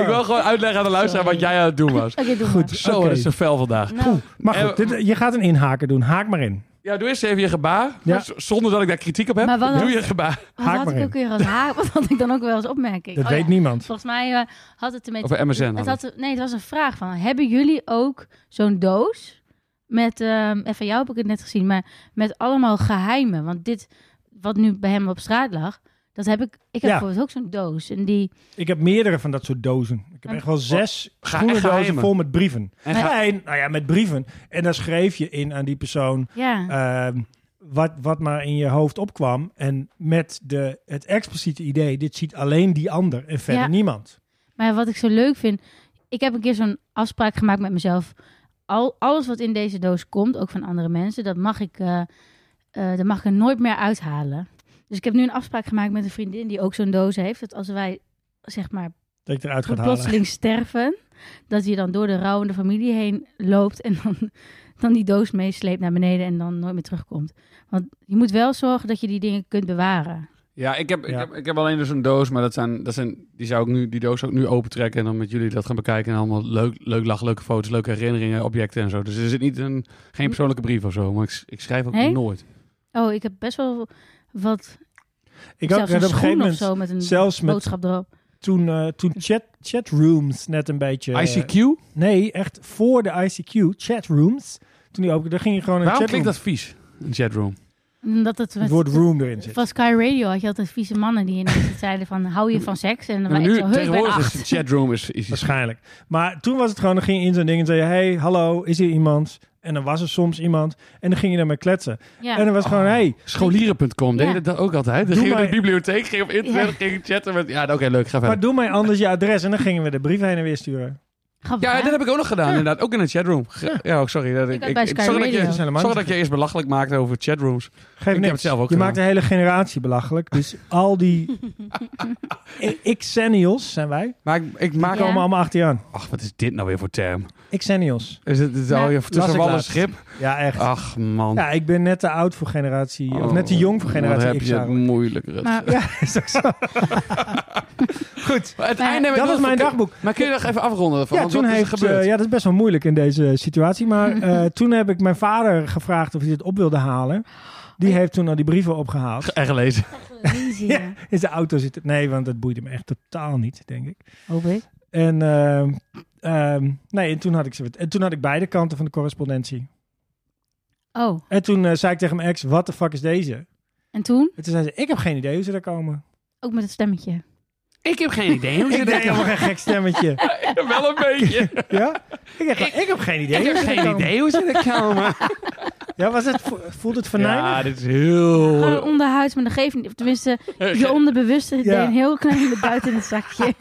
A: Ik wil gewoon uitleggen aan de luisteraar wat jij aan het doen was.
C: Oké, doe Goed.
A: Zo,
B: Oké.
A: dat is zo fel vandaag.
C: Nou,
B: Maar goed,
A: Eh,
B: dit- je gaat een inhaker doen. Haak maar in.
C: Oh,
A: Ja, doe eerst even je gebaar.
B: Ja.
A: Z- Zonder dat ik daar kritiek op heb.
C: Maar wat
A: doe
C: als-
A: je gebaar.
C: wat
B: haak
C: had
B: maar
C: ik
B: in.
C: ook weer als haak? *laughs* Wat had ik dan ook wel als opmerking?
B: Dat
C: Oh,
B: weet
C: ja.
B: niemand.
C: Volgens mij eh, had het ermee
A: Over MSN. hadden
C: Het had, nee, het was een vraag van... Hebben jullie ook zo'n doos? Met, ehm, en van jou heb ik het net gezien, maar met allemaal geheimen. Want dit, wat nu bij hem op straat lag... Dat heb ik... Ik heb
B: Ja.
C: bijvoorbeeld ook zo'n doos. En die...
B: Ik heb meerdere van dat soort dozen. Ik heb echt wel zes
A: Oh. Ga-
B: groene dozen
A: geheimen.
B: vol met brieven.
A: En ga-
B: Nee, nou ja, met brieven. En dan schreef je in aan die persoon
C: Ja.
B: ehm, wat, wat maar in je hoofd opkwam. En met de, het expliciete idee, dit ziet alleen die ander en verder
C: Ja.
B: niemand.
C: Maar wat ik zo leuk vind, ik heb een keer zo'n afspraak gemaakt met mezelf. Al, alles wat in deze doos komt, ook van andere mensen, dat mag ik, eh, eh, dat mag ik er nooit meer uithalen. Dus ik heb nu een afspraak gemaakt met een vriendin die ook zo'n doos heeft. Dat als wij, zeg maar,
B: Dat ik eruit ga halen.
C: plotseling sterven, dat je dan door de rouwende familie heen loopt en dan, dan die doos meesleept naar beneden en dan nooit meer terugkomt. Want je moet wel zorgen dat je die dingen kunt bewaren.
A: Ja, ik heb, Ik,
B: Ja.
A: heb, ik heb alleen dus een doos, maar dat zijn, dat zijn, die zou ik nu, die doos ook nu opentrekken en dan met jullie dat gaan bekijken en allemaal leuk, leuk lachen, leuke foto's, leuke herinneringen, objecten en zo. Dus er zit niet een, geen persoonlijke brief of zo, maar ik, s- ik schrijf ook
C: Nee?
A: nooit.
C: Oh, ik heb best wel wat,
B: Ik had
C: zelfs
B: op een
C: een
B: gegeven
C: schoen of
B: moment,
C: zo met een
B: zelfs met
C: boodschap Hm. erop.
B: toen, eh, toen chat, chatrooms net een beetje... eh,
A: ICQ?
B: Nee, echt voor de ICQ, chatrooms. Toen die opende, daar ging je gewoon een
A: Waarom
B: chatroom.
A: klinkt dat vies? Een
C: Nou,
A: chatroom.
C: Omdat het
B: Het
C: met,
B: woord room erin zit.
C: van Sky Radio had je altijd vieze mannen die ineens zeiden van hou je van seks en dan
A: Maar
C: was
A: nu
C: ik zo heus bij
A: tegenwoordig is
C: acht.
A: een chatroom is, is, is
B: Waarschijnlijk. Maar toen was het gewoon, dan ging je in zo'n ding en zei je... Hey, hallo, is hier iemand? En dan was er soms iemand. En dan ging je daarmee kletsen.
C: Ja.
B: En dan was het
A: Oh.
B: gewoon, hey,
A: scholieren.com, deed
C: Ja.
A: dat ook altijd. Dan
B: Doe
A: ging je naar de
B: maar-
A: bibliotheek, ging op internet, ging chatten met, ja oké leuk, ga
B: maar
A: verder.
B: doe mij anders je adres. En dan gingen we de brief heen en weer sturen.
C: Grappig,
A: Ja,
C: hè?
A: dat heb ik ook nog gedaan, inderdaad. Ook in een chatroom. Ge- Ja, oh, sorry. Dat, ik,
C: had
A: ik,
C: bij
A: ik-
C: Sky
A: sorry dat
C: Radio.
A: je,
B: Dat is helemaal
A: sorry
B: niet
A: dat je eerst belachelijk maakte over chatrooms.
B: Geef
A: heb
B: niks.
A: het zelf ook
B: je
A: gedaan.
B: maakt de hele generatie belachelijk.
C: *laughs*
B: Dus al die I- Xennials zijn wij.
A: Maar ik, ik maak
C: Ja.
B: Komen allemaal achter je aan.
A: Ach, wat is dit nou weer voor term?
B: Xennials.
A: Is het, is het
C: Nou,
A: al je
B: las
A: tussen
B: ik
A: wal en
B: laatst.
A: schip?
B: Ja, echt.
A: Ach man.
B: Ja, ik ben net te oud voor generatie...
A: Oh,
B: of net te jong voor
A: wat
B: generatie
A: heb
B: X
A: je het
B: eigenlijk.
A: moeilijk, Rut.
C: Maar-
B: Ja, is ook zo. Goed.
A: Maar het einde
C: Maar-
A: heb ik
B: Dat
A: nog
B: was mijn
A: even-
B: dagboek.
A: Maar kun je nog even afronden? Van,
B: Ja,
A: want
B: toen
A: wat is er
B: heeft,
A: gebeurd?
B: eh, ja, dat is best wel moeilijk in deze situatie.
A: *laughs*
B: Maar eh, toen heb ik mijn vader gevraagd of hij dit op wilde halen. Die heeft toen al die brieven opgehaald.
A: En gelezen.
C: Easy, hè?
B: In zijn auto zitten. Nee, want dat boeide me echt totaal niet, denk ik.
C: Hoop ik.
B: En, ehm, ehm, nee, en, toen, had ik ze, en toen had ik beide kanten van de correspondentie.
C: Oh,
B: En toen eh, zei ik tegen mijn ex, wat de fuck is deze?
C: en toen?
B: En toen zei ze, ik heb geen idee hoe ze daar komen.
C: Ook met het stemmetje.
A: Ik heb geen idee hoe
B: eh, *laughs* Ik deed helemaal geen gek stemmetje.
A: *laughs* Wel een beetje.
B: ja? Ik, heb, ik heb geen idee. hoe ze daar komen.
A: hoe ze er komen.
B: Ja, was het, vo- voelt het verneinigend?
A: Ja, dit is heel...
C: Gewoon onderhuids, maar dat geeft niet. Of Tenminste, je onderbewuste deed
B: Ja.
C: een heel klein buiten in het zakje.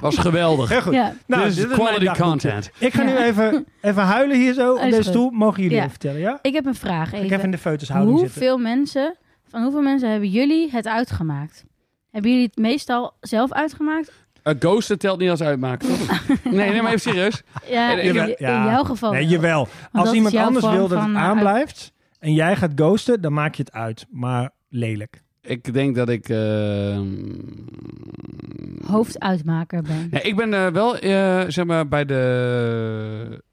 A: was geweldig.
B: Heel goed.
C: Ja.
B: Nou,
A: dit is
B: mijn
A: quality
B: dagboek.
A: content.
B: Ik ga
C: Ja.
B: nu even, even huilen hier zo op
C: Oh, is
B: deze
C: goed.
B: stoel. Mogen jullie
C: Ja.
B: even vertellen, ja?
C: Ik heb een vraag
B: Ik even in
C: even.
B: de feutushouding zitten.
C: Hoeveel mensen, van hoeveel mensen hebben jullie het uitgemaakt? Hebben jullie het meestal zelf uitgemaakt?
A: Een ghosten telt niet als uitmaken.
C: *laughs*
A: toch? nee, nee, maar even serieus.
C: Ja,
A: Jawel,
C: in, in jouw geval.
B: Nee,
C: wel.
B: jawel.
C: Oh, dat
B: Als
C: is
B: iemand
C: jouw
B: anders
C: vorm
B: wil dat het
C: van, eh,
B: aanblijft en jij gaat ghosten, dan maak je het uit. Maar lelijk.
A: Ik denk dat ik... ehm, eh,
C: Hoofduitmaker ben.
A: Nee, ik ben eh, wel, eh, zeg maar, bij de...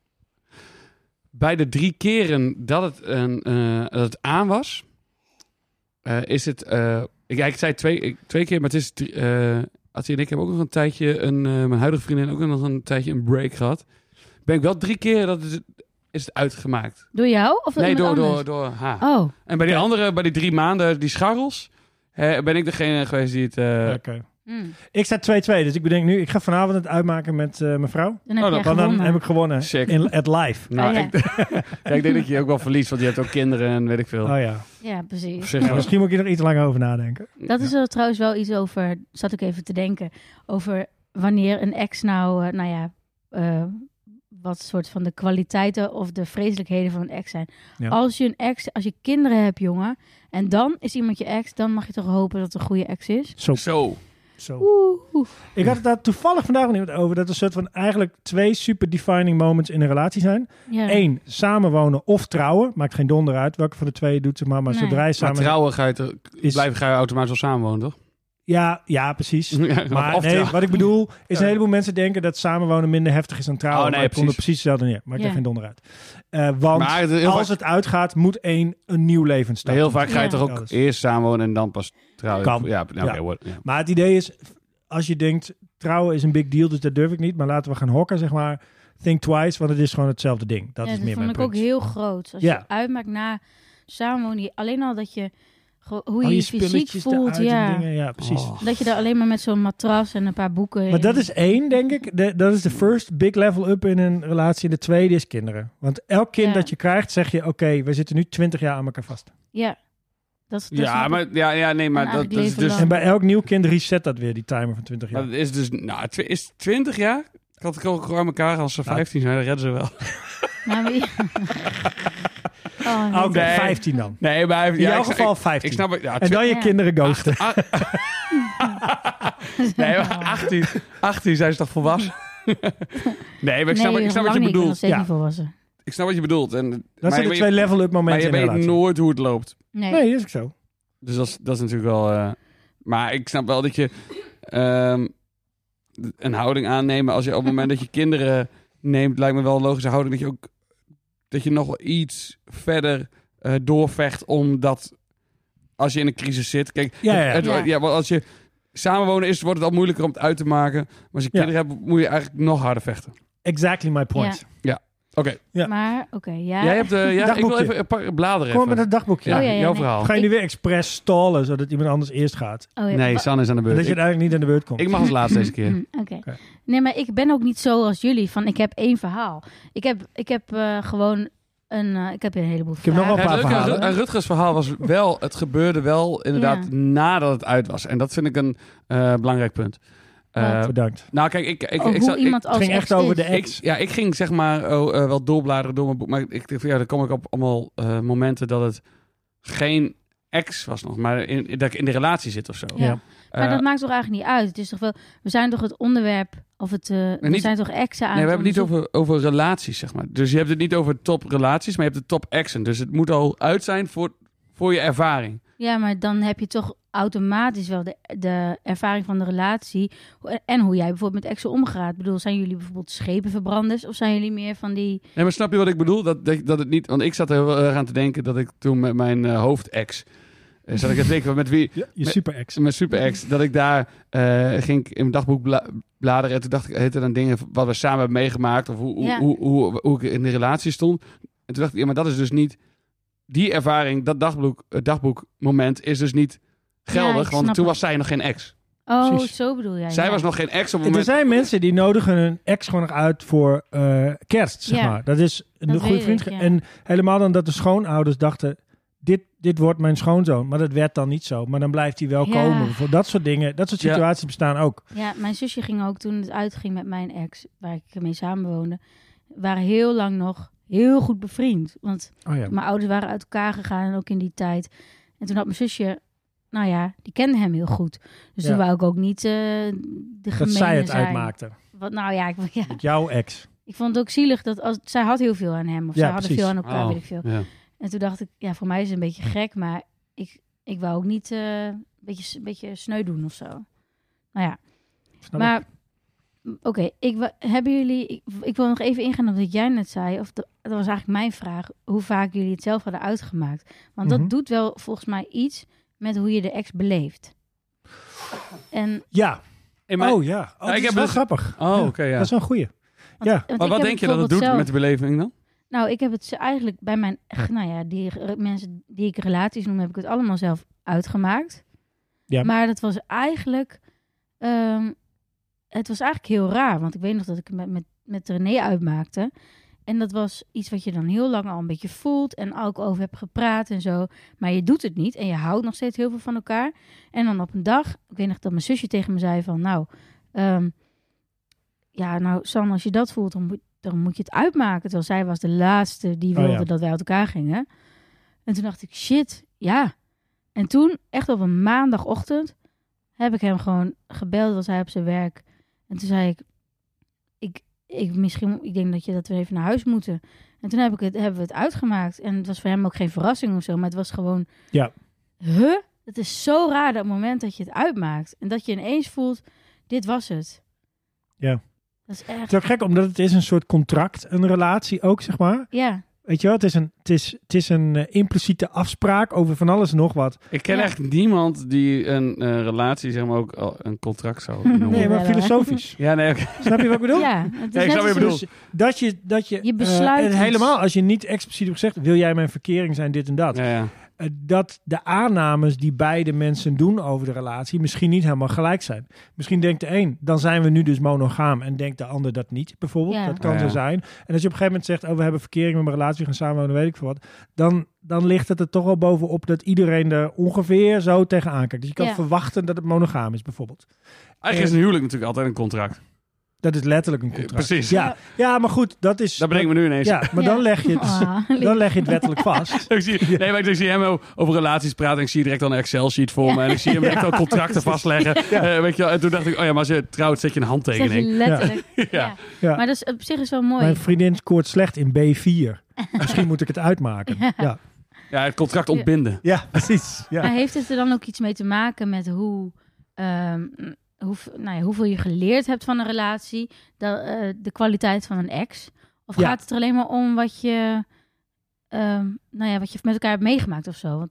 A: Bij de drie keren dat het, een, eh, dat het aan was, eh, is het eh, Ik, ja, ik zei twee, ik- twee keer, maar het is... drie- eh Attie en ik hebben ook nog een tijdje... Een, eh, mijn huidige vriendin ook nog een tijdje een break gehad. Ben ik wel drie keer dat is, is het uitgemaakt.
C: Door jou? Of door
A: nee, door,
C: iemand
A: door,
C: anders?
A: door haar.
C: Oh,
A: En bij die andere, bij die drie maanden, die scharrels... eh, ben ik degene geweest die het... eh,
B: Oké.
C: hm.
B: Ik sta 2-2, dus ik bedenk nu, ik ga vanavond het uitmaken met eh, mijn vrouw.
C: dan heb
A: Oh,
C: jij
A: dat-
B: Want dan
C: gewonnen.
B: heb ik gewonnen.
A: Sick.
B: In, at live.
A: nou,
C: Ah, ja.
A: ik, *laughs* ja, ik denk dat je ook wel verliest, want je hebt ook kinderen en weet ik veel.
B: Oh ja.
C: Ja, precies.
A: Op zich
B: Nou,
A: wel.
B: misschien moet ik hier nog iets langer over nadenken.
C: Dat is wel trouwens wel iets over, zat ik even te denken, over wanneer een ex nou, eh, nou ja, eh, wat soort van de kwaliteiten of de vreselijkheden van een ex zijn.
B: Ja.
C: Als je een ex, als je kinderen hebt, jongen, en dan is iemand je ex, dan mag je toch hopen dat het een goede ex is.
B: Zo.
A: Zo.
B: zo.
C: Oeh, oeh.
B: Ik had het daar toevallig vandaag nog iemand over. Dat er soort van eigenlijk twee super defining moments in een relatie zijn.
C: Ja.
B: Eén, samenwonen of trouwen. Maakt geen donder uit welke van de twee je doet. Zeg maar maar
C: Nee.
B: zodra je
A: Maar
B: samen...
A: trouwen ga je, toch-
B: Is-
A: blijven, ga je automatisch wel samenwonen, toch?
B: ja, ja,
A: *laughs*
B: precies.
A: Ja,
B: Maar
A: Mhm. of
B: nee,
A: trouwen.
B: wat ik bedoel is
A: Ja.
B: een heleboel mensen denken dat samenwonen minder heftig is dan trouwen.
A: Oh, nee,
B: maar het komt er
A: precies.
B: precies hetzelfde neer. Maakt er
C: Ja.
B: geen donder uit. Eh, want
A: Maar het is heel
B: als
A: vaak-
B: het uitgaat, moet één een nieuw leven starten.
A: Heel vaak ga je
C: Ja.
A: toch ook
B: Alles.
A: eerst samenwonen en dan pas trouwen.
B: Kan.
A: Ja, nou, oké,
B: Ja.
A: hoor. ja.
B: Maar het idee is, als je denkt, trouwen is een big deal, dus dat durf ik niet. Maar laten we gaan hokken, zeg maar. Think twice, want het is gewoon hetzelfde ding. Dat
C: Ja,
B: is meer
C: vond
B: mijn
C: ik ook
B: punt.
C: heel groot. Als
B: Ja.
C: je uitmaakt na samenwonen, alleen al dat je, ge- hoe
B: Al je
C: je, je fysiek
B: spulletjes
C: voelt,
B: eruit en
C: ja.
B: dingen, ja, precies.
A: Oh.
C: Dat je daar alleen maar met zo'n matras en een paar boeken.
B: Maar
C: in-
B: dat is één, denk ik. De- dat is de first big level up in een relatie. En de tweede is kinderen. Want elk kind
C: Ja.
B: dat je krijgt, zeg je... oké, we zitten nu 20 jaar aan elkaar vast.
C: Ja, dat is dat snap
A: Ja,
C: ik.
A: maar, ja, ja, nee, maar
C: En
A: dat,
C: eigenlijk
A: dat is
C: leven
A: dus...
C: lang.
B: En bij elk nieuw kind reset dat weer, die timer van 20
A: maar
B: jaar.
A: dat is dus... Nou, tw- is 20 jaar? Ik had het ook gewoon elkaar als ze
B: Nou.
A: 15 zijn, dan redden ze wel.
C: Maar
A: *laughs*
C: Oh, wie- oh,
B: Oké,
C: *laughs*
A: Nee.
B: 15 dan.
A: Nee, maar... hij-
B: In
A: ja,
B: jouw
A: ik-
B: geval
A: ik-
B: 15.
A: Ik snap het. Ja,
B: en dan je
C: Ja.
B: kinderen ghosten.
A: *laughs* tw-
B: *laughs*
A: nee, maar 18, 18 zijn ze toch volwassen? nee, maar ik snap,
C: nee,
A: ik snap wat je
C: lang niet, Ik ben nog
A: bedoelt.
C: steeds
B: Ja.
C: niet volwassen.
A: Ik snap wat je bedoelt. En, maar
B: Dat zijn
A: je-
B: de twee level up
A: Maar
B: momenten
A: je
B: in een
A: weet
B: relatie.
A: nooit hoe het loopt.
C: Nee.
B: Nee, is ook zo.
A: Dus dat is, dat is natuurlijk wel. eh, maar ik snap wel dat je ehm, een houding aannemen als je op het moment dat je kinderen neemt, lijkt me wel een logische houding dat je ook dat je nog wel iets verder eh, doorvecht omdat als je in een crisis zit. Kijk,
B: Ja, ja, ja.
A: het- het-
C: Ja.
A: want als je samenwonen is, wordt het al moeilijker om het uit te maken. Maar als je
B: Ja.
A: kinderen hebt, moet je eigenlijk nog harder vechten.
B: Exactly my point.
A: Oké,
B: Ja.
C: Maar, oké, ja.
A: jij hebt. eh, ja, ik wil
B: Dagboekje.
A: even een paar bladeren.
B: Gewoon met
A: even.
B: het dagboekje.
A: Ja,
C: Oh, ja, ja,
A: jouw
C: nee.
A: verhaal.
B: Ga je nu weer expres stallen, zodat iemand anders eerst gaat.
C: Oh, ja.
A: Nee,
C: Wa-
A: San is aan de
B: En
A: beurt.
B: dat je
A: Ik,
B: uiteindelijk niet aan de beurt komt.
A: ik mag als laatste deze *laughs* keer.
C: Hm, Oké.
B: Oké.
C: Nee, maar ik ben ook niet zo als jullie, van ik heb één verhaal. Ik heb, ik heb eh, gewoon een, eh, ik heb een heleboel
B: heb nog
C: vragen.
B: wel een
A: Ja,
B: paar
A: het leuke aan
B: verhalen.
A: Ru- aan Rutgers verhaal was wel, het gebeurde wel inderdaad
C: Ja.
A: nadat het uit was. En dat vind ik een eh, belangrijk punt. Eh,
C: Wat?
B: Bedankt.
A: nou, kijk, ik, ik,
C: Oh,
A: ik,
C: hoe
A: zat- ik-
C: iemand
B: Het
C: als
B: ging
C: ex
B: echt over
C: is.
B: de
A: ik,
B: ex.
A: ja, ik ging zeg maar oh, eh, wel doorbladeren door mijn boek. Maar ik dacht, van, ja, dan kom ik op allemaal eh, momenten dat het geen ex was nog, maar in, in- dat ik in de relatie zit of zo.
C: Ja.
B: Ja.
C: Maar
A: Eh,
C: dat maakt toch eigenlijk niet uit? Het is toch wel, we zijn toch het onderwerp, of het, eh, we
A: niet-
C: zijn toch exen aan
A: nee, we hebben het niet
C: onderzoeken?
A: over, over relaties, zeg maar. Dus je hebt het niet over toprelaties, maar je hebt de top exen. Dus het moet al uit zijn voor, voor je ervaring.
C: Ja, maar dan heb je toch automatisch wel de, de ervaring van de relatie. En hoe jij bijvoorbeeld met exen omgaat. Ik bedoel, zijn jullie bijvoorbeeld schepenverbranders? Of zijn jullie meer van die...
A: Nee, maar snap je wat ik bedoel? Dat, dat, dat het niet, want ik zat er heel erg aan te denken dat ik toen met mijn eh, hoofdex... eh, zat ik aan te denken van met wie...
B: je super ex.
A: Mijn superex. Dat ik daar eh, ging ik in mijn dagboek bla- bladeren. En toen dacht ik, heette dan dingen wat we samen hebben meegemaakt. Of hoe, hoe,
C: Ja.
A: hoe, hoe, hoe ik in de relatie stond. En toen dacht ik, ja, maar dat is dus niet... Die ervaring, dat dagboek, eh, dagboekmoment is dus niet geldig.
C: ik
A: want
C: snap
A: toen
C: het.
A: was zij nog geen ex.
C: Oh,
B: Precies.
C: zo bedoel jij.
A: zij
C: ja.
A: was nog geen ex op het
B: Er
A: moment...
B: zijn mensen die nodigen hun ex gewoon nog uit voor eh, kerst, zeg
C: Ja.
B: maar. Dat is een
C: Dat
B: goede
C: weet
B: vriend.
C: ik, ja.
B: En helemaal dan dat de schoonouders dachten, dit, dit wordt mijn schoonzoon. Maar dat werd dan niet zo. Maar dan blijft hij wel
C: Ja.
B: komen. Voor dat soort dingen, dat soort
A: Ja.
B: situaties bestaan ook.
C: Ja, mijn zusje ging ook toen het uitging met mijn ex, waar ik mee samenwoonde, waren heel lang nog heel goed bevriend. Want
B: Oh ja.
C: mijn ouders waren uit elkaar gegaan en ook in die tijd. En toen had mijn zusje, nou ja, die kende hem heel goed. Dus
B: Ja.
C: toen wou ik ook niet eh de
B: Dat
C: gemeene
B: zij het
C: zijn.
B: uitmaakte.
C: Wat, nou ja ik, *laughs* ja,
B: Jouw ex.
C: Ik vond het ook zielig dat als, zij had heel veel aan hem. Of
B: Ja,
C: zij hadden
B: precies.
C: veel aan elkaar,
A: Oh, Hm.
C: weet ik veel.
A: ja.
C: En toen dacht ik, ja, voor mij is het een beetje gek. Maar ik, ik wou ook niet eh, een, beetje, een beetje sneu doen of zo. Nou ja,
B: Snap ik?
C: maar... Oké, ik wa- hebben jullie... Ik, ik wil nog even ingaan op wat jij net zei. Of dat, dat was eigenlijk mijn vraag. Hoe vaak jullie het zelf hadden uitgemaakt. Want
B: Mhm.
C: dat doet wel volgens mij iets met hoe je de ex beleeft. En,
B: Ja.
A: In mijn-
B: Oh ja. Oh,
A: ik
B: ik
A: heb
B: heb wel
A: dus-
B: grappig.
A: Oh, oké,
B: Ja,
A: ja.
B: Dat is wel een goeie.
C: want-
B: Ja.
C: want
A: Maar
C: ik
A: wat
C: heb
A: denk je dat het doet
C: bijvoorbeeld
A: met
C: zelf-
A: de beleving dan?
C: Nou, ik heb het ze- eigenlijk bij mijn, echt, nou ja, die re- mensen die ik relaties noem, heb ik het allemaal zelf uitgemaakt.
B: Ja.
C: Maar dat was eigenlijk, ehm, het was eigenlijk heel raar, want ik weet nog dat ik het met, met, met René uitmaakte. En dat was iets wat je dan heel lang al een beetje voelt en ook over hebt gepraat en zo. Maar je doet het niet en je houdt nog steeds heel veel van elkaar. En dan op een dag, ik weet nog dat mijn zusje tegen me zei van, nou, ehm, ja, nou San, als je dat voelt, dan moet, dan moet je het uitmaken. Terwijl zij was de laatste die
B: Oh, ja.
C: wilde dat wij uit elkaar gingen. En toen dacht ik, shit, ja. En toen, echt op een maandagochtend, heb ik hem gewoon gebeld, was hij op zijn werk. En toen zei ik, ik, ik, misschien, ik denk dat, je, dat we even naar huis moeten. En toen heb ik het, hebben we het uitgemaakt. En het was voor hem ook geen verrassing of zo, maar het was gewoon...
B: Ja.
C: Huh? Het is zo raar dat moment dat je het uitmaakt. En dat je ineens voelt, dit was het.
B: Ja.
C: Dat is echt...
B: Het is ook gek, omdat het is een soort contract, een relatie ook, zeg maar.
C: Ja,
B: Weet je wel, het is een, het is, het is een eh, impliciete afspraak over van alles en nog wat.
A: Ik ken
C: Ja.
A: echt niemand die een eh, relatie, zeg maar, ook al een contract zou *laughs* noemen.
B: Nee, maar
C: Wel, hè? *laughs*
B: filosofisch.
A: Ja, nee, oké.
B: Snap je wat ik bedoel?
C: ja. Het is
A: Ja, ik
C: net
A: snap wat je bedoelt.
C: alsof-
B: Dus dat je, dat je,
C: Je
B: eh,
C: besluit
B: en
C: iets.
B: helemaal als je niet expliciet hebt gezegd, wil jij mijn verkering zijn, dit en dat.
A: Ja, ja.
B: Eh, dat de aannames die beide mensen doen over de relatie misschien niet helemaal gelijk zijn. Misschien denkt de een, dan zijn we nu dus monogaam en denkt de ander dat niet, bijvoorbeeld.
C: Ja.
B: Dat kan
A: Ja.
B: zo zijn. En als je op een gegeven moment zegt, oh we hebben verkering met mijn relatie, we gaan samenwonen, weet ik veel wat. Dan, dan ligt het er toch wel bovenop dat iedereen er ongeveer zo tegenaan kijkt. Dus je kan
C: Ja.
B: verwachten dat het monogaam is, bijvoorbeeld.
A: Eigenlijk is een huwelijk natuurlijk altijd een contract.
B: Dat is letterlijk een contract.
A: Eh, precies.
B: Ja, ja maar goed, dat is...
A: Dat brengen we nu ineens.
B: Ja, maar
C: Ja.
B: dan leg je het...
C: Ah,
B: Dan leg je het wettelijk
C: *laughs*
A: *laughs*
B: vast.
A: Ik zie, nee, maar ik zie hem ook over relaties praten. en Ik zie direct al een Excel-sheet voor me. En ik zie hem direct al contracten vastleggen. Eh, weet je wel. En toen dacht ik, oh ja, maar als je trouwt, zet je een
C: zeg je
A: handtekening.
C: letterlijk. Ja.
A: Ja.
B: Ja.
C: Maar dat is op zich is wel mooi.
B: Mijn vriendin scoort slecht in
C: *laughs*
B: B4. Misschien moet ik het uitmaken. Ja,
A: Ja, het contract ontbinden.
B: ja precies. Ja.
C: Maar heeft het er dan ook iets mee te maken met hoe, ehm, hoe, nou ja, hoeveel je geleerd hebt van een relatie, de, eh, de kwaliteit van een ex? Of
B: Ja.
C: gaat het er alleen maar om wat je, ehm, nou ja, wat je met elkaar hebt meegemaakt of zo? Want,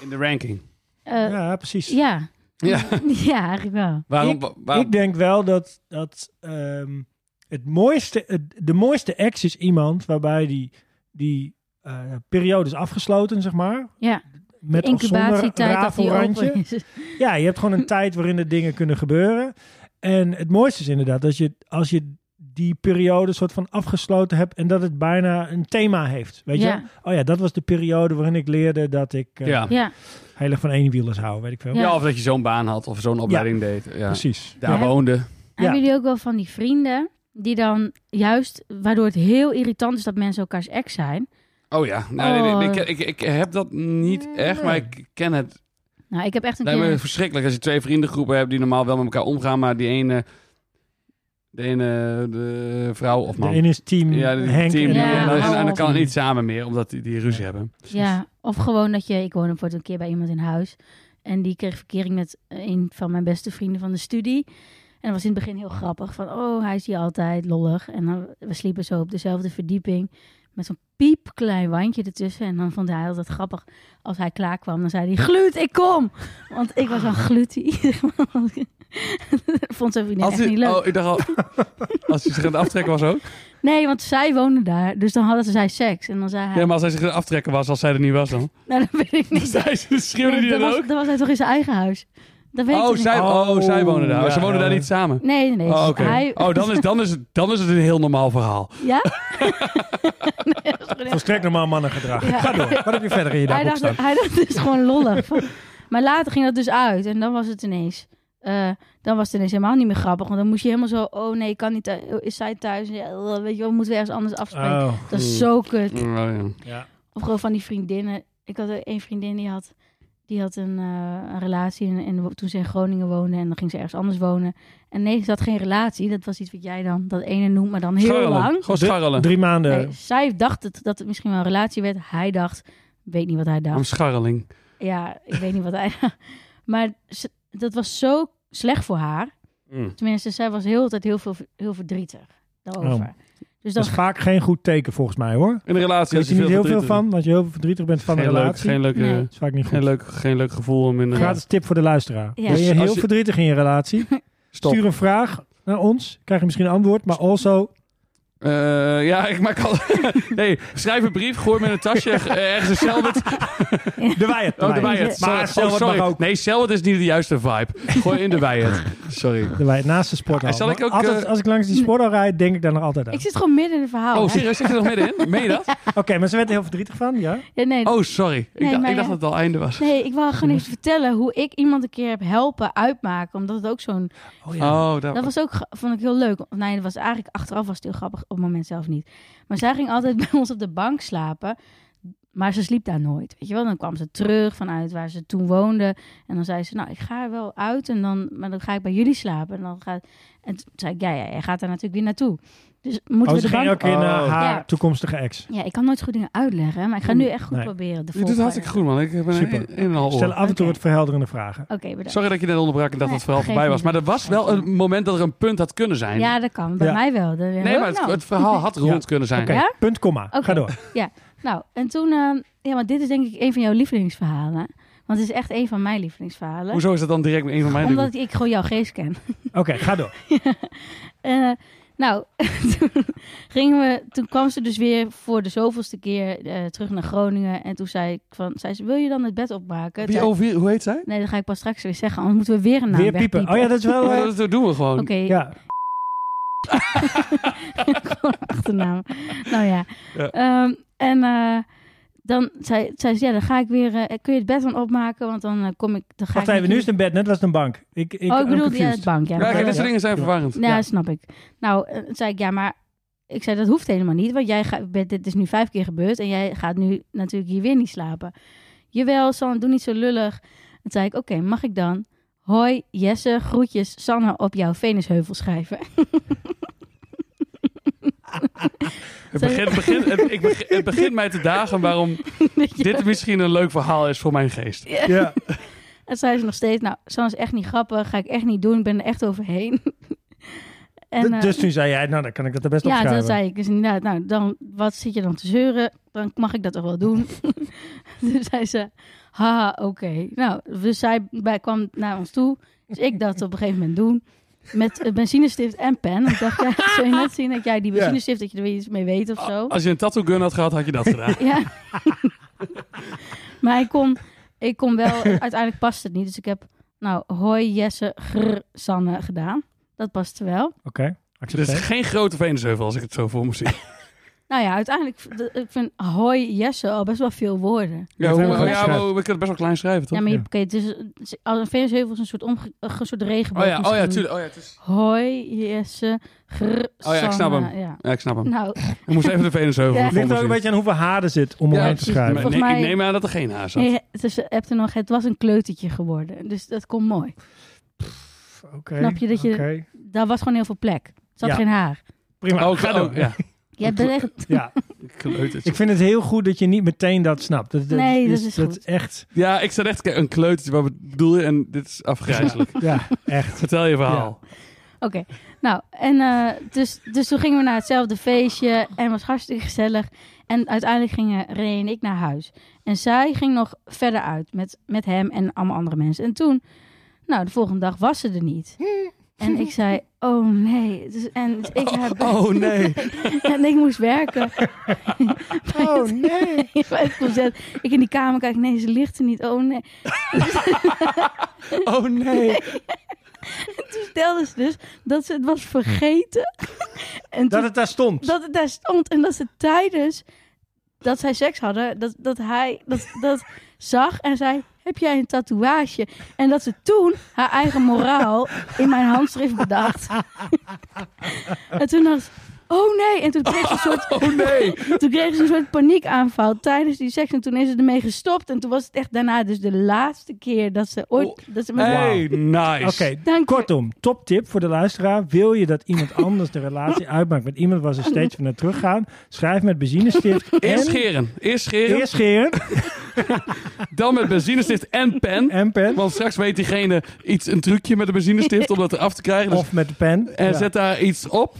A: In de ranking.
C: eh, ja.
B: Ja, precies.
C: Ja. *laughs*
A: Ja.
C: eigenlijk wel.
A: Waarom?
B: Ik-
A: wa- waarom-
B: Ik denk wel dat, dat ehm, het mooiste, het- de mooiste ex is iemand waarbij die, die eh, periode is afgesloten, zeg maar.
C: Ja,
B: Met of zonder
C: incubatietijd dat die
B: rafelrandje.
C: open is.
B: Ja, je hebt gewoon
C: *laughs*
B: een tijd waarin er dingen kunnen gebeuren. En het mooiste is inderdaad dat je, als je die periode soort van afgesloten hebt en dat het bijna een thema heeft. Weet je?
C: Ja.
B: wel? Oh ja, dat was de periode waarin ik leerde dat ik eh,
A: ja.
C: Ja,
B: heilig van eenwielers hou, weet ik veel.
C: Ja.
A: Ja, of dat je zo'n baan had of zo'n opleiding deed. Ja.
B: Precies.
A: Daar
C: Ja.
A: woonde.
C: hebben jullie ook wel van die vrienden die dan juist, waardoor het heel irritant is dat mensen elkaars ex zijn?
A: Oh ja. Nou, nee, nee,
C: Oh.
A: ik, ik, ik heb dat niet echt, maar ik ken het
C: Nou, ik heb echt een
A: Nee,
C: keer...
A: maar het is verschrikkelijk als je twee vriendengroepen hebt die normaal wel met elkaar omgaan, maar die ene, de ene de vrouw of man.
B: De ene is team
A: ja, de
B: Henk.
A: team.
B: en de
A: en,
C: Ja,
B: andere
A: dan,
B: is-
A: en dan
C: oh.
A: kan het niet samen meer, omdat die, die ruzie hebben.
C: Ja, of gewoon dat je... Ik woonde bijvoorbeeld een keer bij iemand in huis. En die kreeg verkering met eh, een van mijn beste vrienden van de studie. En dat was in het begin heel grappig. Van, oh, hij is hier altijd, lollig. En dan, we sliepen zo op dezelfde verdieping. Met zo'n piepklein wandje ertussen. En dan vond hij altijd grappig. Als hij klaar kwam, dan zei hij, gluut, ik kom! Want ik was
A: *laughs*
C: een glutie. *laughs* vond zijn vriendin
A: Als
C: echt
A: die-
C: niet leuk.
A: Oh, ik dacht al,
C: *laughs*
A: als hij zich aan het aftrekken was ook.
C: Nee, want zij woonde daar. Dus dan hadden ze zij seks. En dan zei hij...
A: Ja, maar Dus als hij zich aan het aftrekken was, als zij er niet was dan.
C: Nou, dat weet
A: *laughs*
C: ik niet.
A: Zij schreeuwde die
C: dat,
A: dan
C: was,
A: ook.
C: dat was hij toch in zijn eigen huis? Dat weet ik
A: Oh,
C: niet.
A: zij, oh,
B: Oh,
A: zij wonen daar. Oh, ze
B: ja,
A: wonen daar
B: ja.
A: niet samen.
C: Nee, nee, nee.
A: Oh, oké.
C: Hij...
A: oh dan, is, dan, is het, dan is het een heel normaal
C: *laughs*
A: verhaal. *laughs*
C: Ja? Nee, dat is gewoon echt-
B: Volstrekt normaal mannengedrag.
C: Ja.
B: Ga door. Wat heb je verder in je
C: hij,
B: dagboek
C: dacht,
B: staan?
C: hij dacht dus gewoon lollig. Van- Maar later ging dat dus uit. En dan was het ineens... eh, dan was het ineens helemaal niet meer grappig. Want dan moest je helemaal zo... Oh nee, ik kan niet... thu- Is zij thuis? Ja, weet je wel, moeten we ergens anders afspreken?
B: Oh,
C: Dat is zo kut.
A: Oh, ja.
B: ja.
C: Of gewoon van die vriendinnen. Ik had een vriendin die had, die had een, eh, een relatie. En, en wo- toen ze in Groningen woonde. En dan ging ze ergens anders wonen. En nee, ze had geen relatie. Dat was iets wat jij dan dat ene noemt. Maar dan heel lang.
A: Scharrelen. Gewoon scharrelen.
B: Drie maanden.
C: Nee, zij dacht het, dat het misschien wel een relatie werd. Hij dacht, weet niet wat hij
A: Om
C: dacht.
A: scharreling.
C: Ja, ik weet niet wat hij *laughs* dacht. Maar ze- dat was zo slecht voor haar.
A: Mm. Oh.
C: Tenminste, zij was heel de tijd heel, veel, heel verdrietig daarover.
B: Dat
C: Dus dan
B: is vaak geen goed teken volgens mij hoor.
A: In een relatie
B: Daar
A: als
B: is
A: je
B: er niet
A: veel
B: heel veel
A: verdriet
B: van, want je heel verdrietig bent van
A: doet.
B: een
A: Geen leuk,
B: relatie.
A: geen leuk, eh,
C: Nee.
B: Dat is vaak niet goed.
A: geen leuk, geen leuk gevoel om in een
B: Gratis tip voor de luisteraar.
C: Ja.
B: Ben je
A: Dus als
B: heel
A: je-
B: verdrietig in je
A: *laughs*
B: relatie?
A: stop.
B: Stuur een vraag naar ons. Krijg je misschien een antwoord, maar also...
A: Eh, ja, ik maak al. *laughs* nee, schrijf een brief, gooi me in een tasje, eh, ergens een celbert.
B: De Wyatt.
A: Oh, de
C: Wyatt.
A: Wyatt.
B: Maar
A: Sorry.
B: Selwert
A: Oh, sorry.
B: mag ook.
A: Nee, Selwert is niet de juiste vibe. Gooi in de Wyatt.
C: Oh,
A: Sorry.
B: De Wyatt, naast de sporthal.
A: Ja, zal ik
B: Maar
A: ook,
B: altijd,
A: eh,
B: als ik langs die sporthal rijd, denk ik daar nog altijd aan.
C: Ik zit gewoon midden in het verhaal.
A: Oh,
C: hè?
A: serieus? Zit je er nog middenin? Meen je dat?
B: Oké, maar ze werd er heel verdrietig van, ja?
C: Ja, nee,
A: Oh, sorry. Ik,
C: Nee,
A: dacht,
C: maar
A: ik dacht
C: ja.
A: dat het al einde was.
C: nee, ik wil gewoon even vertellen hoe ik iemand een keer heb helpen uitmaken. Omdat het ook zo'n...
B: Oh
A: Oh, daar...
C: Dat was ook, ge- vond ik heel leuk. Nee, dat was eigenlijk achteraf was het heel grappig. Op het moment zelf niet. Maar zij ging altijd *laughs* bij ons op de bank slapen. Maar ze sliep daar nooit. Weet je wel, dan kwam ze terug vanuit waar ze toen woonde. En dan zei ze, nou, ik ga er wel uit. En dan, maar dan ga ik bij jullie slapen. En dan gaat... En toen zei ik, ja, ja, jij gaat daar natuurlijk weer naartoe. Dus moeten
B: Oh,
C: we
B: ze
C: de
B: ging
C: bank...
B: ook in
A: Oh.
B: haar
C: Ja.
B: toekomstige ex.
C: Ja, ik kan nooit goed dingen uitleggen. hè, Maar ik ga nu echt goed
B: Nee.
C: proberen. De
A: Je doet het
C: volgorde.
A: hartstikke goed, man. Ik heb een,
B: Super.
A: een, een en een half
B: Stel
A: oor.
B: af en toe
C: Oké.
B: wat verhelderende vragen.
C: Oké, bedankt.
A: Sorry dat ik je net onderbrak en dacht dat het verhaal
C: Nee,
A: voorbij was.
C: geeft
A: Maar
C: niet.
A: er was wel een moment dat er een punt had kunnen zijn.
C: Ja, dat kan. Bij
B: Ja.
C: mij wel. Dat-
A: nee, maar
C: Oh,
A: het,
C: nou.
A: het verhaal had rond kunnen zijn.
B: Oké,
C: Ja?
B: punt, komma.
C: Oké.
B: Ga door.
C: Nou, en toen... eh, ja, want dit is denk ik een van jouw lievelingsverhalen. Want het is echt een van mijn lievelingsverhalen.
A: Hoezo is dat dan direct een van mijn dingen?
C: Omdat ik gewoon jouw geest ken.
B: Oké, ga door.
C: Eh, nou, *laughs* toen, gingen we, toen kwam ze dus weer voor de zoveelste keer eh, terug naar Groningen. En toen zei ik van... Zei ze, wil je dan het bed opmaken?
A: Wie,
C: Toen-
A: oh, wie- hoe heet zij?
C: Nee, dat ga ik pas straks weer zeggen. Anders moeten we weer een naam
B: Weer piepen. Oh ja, dat is wel... eh,
A: Ja, dat, dat doen we gewoon.
C: Oké,
B: ja.
C: Gewoon *laughs* achternaam. Nou ja.
A: Ja.
C: Ehm, en eh, dan zei, zei ze, ja, dan ga ik weer... eh, kun je het bed dan opmaken? Want dan eh, kom ik... Dan ga
B: Wacht
C: ik
B: even, nu is
C: met
B: het een bed, net was het een bank. Ik, ik,
C: jullie- Oh, ik bedoel, ja,
B: confused.
C: het bank. Ja,
A: Ja, kijk,
C: dat-
A: dit soort
B: Ja.
A: dingen zijn verwarrend.
C: ja,
B: ja.
C: snap ik. Nou, eh, toen zei ik, ja, maar... Ik zei, dat hoeft helemaal niet. Want jij gaat, bent- dit is nu vijf keer gebeurd. En jij gaat nu natuurlijk hier weer niet slapen. Jawel, Sanne, doe niet zo lullig. Toen zei ik, oké, mag ik dan... Hoi, Jesse, groetjes, Sanne op jouw Venusheuvel schrijven. *laughs*
A: Het begint, begint- het, ik begin, het begint mij te dagen
C: *laughs*
A: waarom dit misschien een leuk verhaal is voor mijn geest.
B: Ja.
C: En zei ze nog steeds, nou, Sanne is echt niet grappig, ga ik echt niet doen, ik ben er echt overheen. *laughs* *laughs* en, eh,
B: dus toen zei jij, nou dan kan ik dat er best
C: ja,
B: opschrijven.
C: dat zei ik dus inderdaad, nou, dan, wat zit je dan te zeuren? Dan mag ik dat toch wel doen? *laughs* Toen zei ze, haha, oké. Nou, dus zij bij, kwam naar ons toe, dus ik dat op een gegeven moment doen. Met eh, benzinestift en pen. Want Ik dacht, ja, *laughs* zul je net zien dat jij die
B: Ja.
C: benzinestift, dat je er weer iets mee weet of zo.
A: Als je een tattoo gun had gehad, had je
C: *laughs*
A: dat gedaan.
C: Ja.
A: *laughs*
C: maar ik kon, ik kon wel, uiteindelijk past het niet. Dus ik heb, nou, hoi Jesse, grr, Sanne gedaan. Dat past wel.
B: Oké, accepteer.
A: Dus geen grote venensheuvel als ik het zo voor me zie.
C: Nou ja, uiteindelijk, v- de- ik vind hoi Jesse al best wel veel woorden.
A: Ja,
B: Dat
A: hoe-
B: hebben we
A: oh, ja,
B: geschreven.
A: maar we kunnen het best wel klein schrijven, toch?
C: ja, maar je,
B: Ja.
C: oké, het is, het is- als een venusheuvel is een soort, omge, eh, een soort regenboog
A: oh ja, oh ja,
C: misschien.
A: tuurlijk. Oh ja, het is-
C: Hoi Jesse, grr,
A: Oh ja, ik snap
C: Sanne.
A: hem. Oh,
C: Ja.
A: Ja, ik snap hem.
C: Nou, *laughs*
A: Ik moest even de venensheuvel
C: Ja.
A: voor
B: Ligt
A: me
B: er ook een
A: zien.
B: beetje aan hoeveel haren zit om omheen
A: Ja,
B: te
C: precies.
A: Maar
B: schrijven.
C: Volgens
A: nee,
C: mij-
A: Ik neem aan dat er geen haar zat.
C: nee, het is, heb er nog, het was een kleutertje geworden. Dus dat komt mooi.
B: Oké.
C: Snap je dat je-
B: oké.
C: Daar was gewoon heel veel plek. Er zat
B: Ja.
C: geen haar.
B: Prima,
A: Oh,
B: ga
A: oh,
B: door. ja.
A: ja.
C: Jij bent echt
A: Kleutertje.
B: ik vind het heel goed dat je niet meteen dat snapt. Dat, dat
C: Nee, dat is goed.
B: echt,
A: Ja, ik zat echt kijk, een kleutertje. Wat bedoel je? En dit is afgrijzelijk.
C: *laughs*
B: ja, echt.
A: Vertel je verhaal.
C: Oké, nou, en eh, dus, dus toen gingen we naar hetzelfde feestje en was hartstikke gezellig. En uiteindelijk gingen René en ik naar huis. En zij ging nog verder uit met, met hem en allemaal andere mensen. En toen, nou, de volgende dag was ze er niet. En ik zei, oh nee. Dus, en dus ik heb,
A: Oh nee.
C: *laughs* en ik moest werken.
B: *laughs* Oh
C: *laughs*
B: nee.
C: Bij het concert. Ik in die kamer kijk, nee, ze ligt er niet.
B: *laughs*
C: Oh nee.
A: Oh
C: *laughs*
A: nee.
C: Vertelde ze dus dat ze het was vergeten. En
B: Dat
C: toen-
B: het daar stond.
C: dat het daar stond en dat ze tijdens dat zij seks hadden, dat, dat hij dat, dat zag en zei: Heb jij een tatoeage? En dat ze toen haar eigen moraal in mijn handschrift
A: *laughs*
C: bedacht. en toen dacht ze, Oh nee! En toen kreeg ze een soort,
A: *laughs* Oh nee.
C: *laughs* toen kreeg ze een soort paniekaanval tijdens die seks. En toen is ze ermee gestopt. En toen was het echt daarna dus de laatste keer dat ze ooit...
A: Oh,
C: dat ze met
A: Hey, nice.
B: Oké,
C: Dank je.
B: kortom, top tip voor de luisteraar. Wil je dat iemand anders de
C: *laughs*
B: relatie uitmaakt met iemand waar ze steeds van naar terug gaan? Schrijf met benzinestift en...
A: Eerst scheren. Eerst scheren.
B: Eerst scheren
A: Dan met benzinestift en pen.
B: *laughs* en pen.
A: Want straks weet
B: *laughs*
A: diegene iets, een trucje met een benzinestift om dat eraf te krijgen. Dus-
B: Of met de pen.
A: en
B: Ja.
A: zet daar iets op.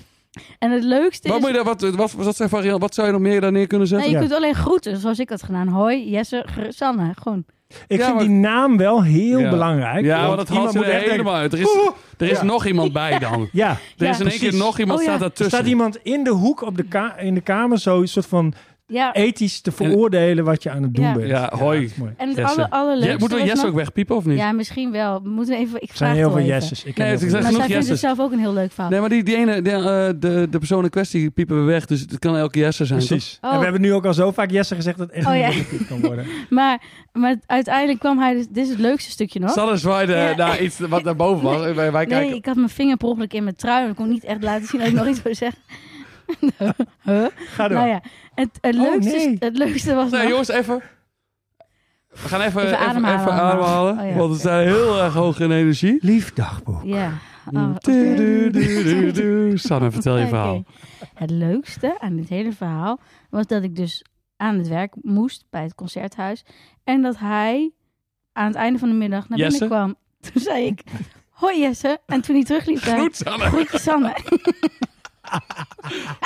C: En het leukste
A: Wat,
C: is...
A: moet je daar, wat, wat, wat, zijn variant, wat zou je nog meer daar neer kunnen zetten?
C: Nee, je
B: Ja.
C: kunt alleen groeten, zoals ik had gedaan. Hoi, Jesse, Gr- Sanne. Gewoon.
B: Ik
A: Ja,
B: vind
A: maar-
B: die naam wel heel
A: Ja.
B: belangrijk.
A: ja, want dat haalt
B: iemand
A: ze
B: moet
A: er
B: echt denken,
A: helemaal uit. Er is, er is
B: Ja.
A: nog iemand bij dan.
B: Ja,
A: Er
C: Ja,
A: is in één keer
B: precies.
A: nog iemand
C: Oh, ja.
A: staat
B: er
A: daartussen.
B: staat iemand in de hoek op de ka- in de kamer zo een soort van
C: Ja.
B: ethisch te veroordelen wat je aan het doen
C: Ja.
B: bent.
A: Ja, hoi.
B: dat is mooi.
C: En het
A: Jesse.
C: alle, allerleukste
A: Ja, moeten we
C: was
A: Jesse
C: nog-
A: ook wegpiepen of niet?
C: Ja, misschien wel. We Moeten even... Ik
B: Er zijn
C: vraag
B: heel
C: het
B: veel
C: wel even.
B: yeses. Ik ken
A: Nee,
B: heel
A: het is
B: veel
A: exact- Genoeg
C: Maar zij vindt het
A: yeses.
C: zelf ook een heel leuk verhaal.
A: Nee, maar die, die ene, de, eh, de, de persoon in kwestie piepen we weg. Dus het kan elke Jesse zijn.
B: yeses.
A: toch?
B: Precies.
C: Oh.
B: En we hebben nu ook al zo vaak Jesse gezegd dat het echt
C: Oh,
B: niet
C: ja.
B: negatief kan
C: *laughs*
B: worden.
C: Maar, maar uiteindelijk kwam hij... Dus, dit is het leukste stukje nog.
A: Sanne zwaaide
C: Ja.
A: naar iets wat daarboven was. En Wij, wij kijken.
C: Nee, ik had mijn vinger per ongeluk in mijn trui. En ik kon niet echt laten zien dat ik nog iets wil zeggen. *laughs* huh?
B: Ga door.
C: Nou ja, het, het,
B: Oh,
C: leukste,
B: nee.
C: het leukste was
A: Nee,
C: nog-
A: jongens, even. We gaan even,
C: Even
A: even,
C: ademhalen
A: even
C: allemaal.
A: ademhalen.
C: Oh, ja.
A: Want we zijn heel erg hoog in energie. Mm,
B: Lief dagboek.
C: Ja. Oh,
A: Du- du- du- du- du. Sanne, vertel je
C: Oké.
A: verhaal.
C: Het leukste aan dit hele verhaal was dat ik dus aan het werk moest bij het concerthuis. En dat hij aan het einde van de middag naar
A: Jesse?
C: binnen kwam. *laughs* Toen zei ik, hoi Jesse. En toen hij terugliep, zei
A: Goed,
C: ik,
A: Sanne.
C: groetje Sanne.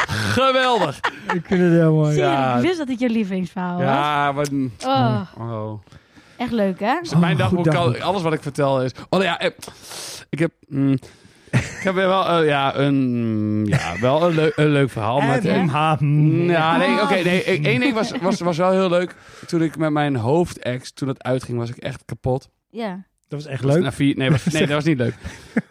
A: Geweldig.
B: Ik vind het heel mooi.
C: Zie je,
A: Oh, Ja.
C: *laughs* ik wist dat het je lievelingsverhaal was.
A: Ja, maar...
C: Oh,
A: Oh.
C: echt leuk hè?
A: Dus mijn
B: Oh,
A: dagboek,
B: goed
A: kan-
B: dagboek.
A: alles wat ik vertel is. Oh nou ja, eh, ik heb. mm, ik heb weer wel, eh, ja, een, mm, ja, wel een, leu- een leuk verhaal. Maar het-
C: En-
B: MH.
A: ja, nee, oké. nee, ik- één ding was, was, was wel heel leuk. Toen ik met mijn hoofdex, toen het uitging, was ik echt kapot.
C: Ja.
B: Dat was echt
A: Dus
B: leuk.
A: na vier, nee, was- nee, dat was niet
B: *laughs*
A: leuk.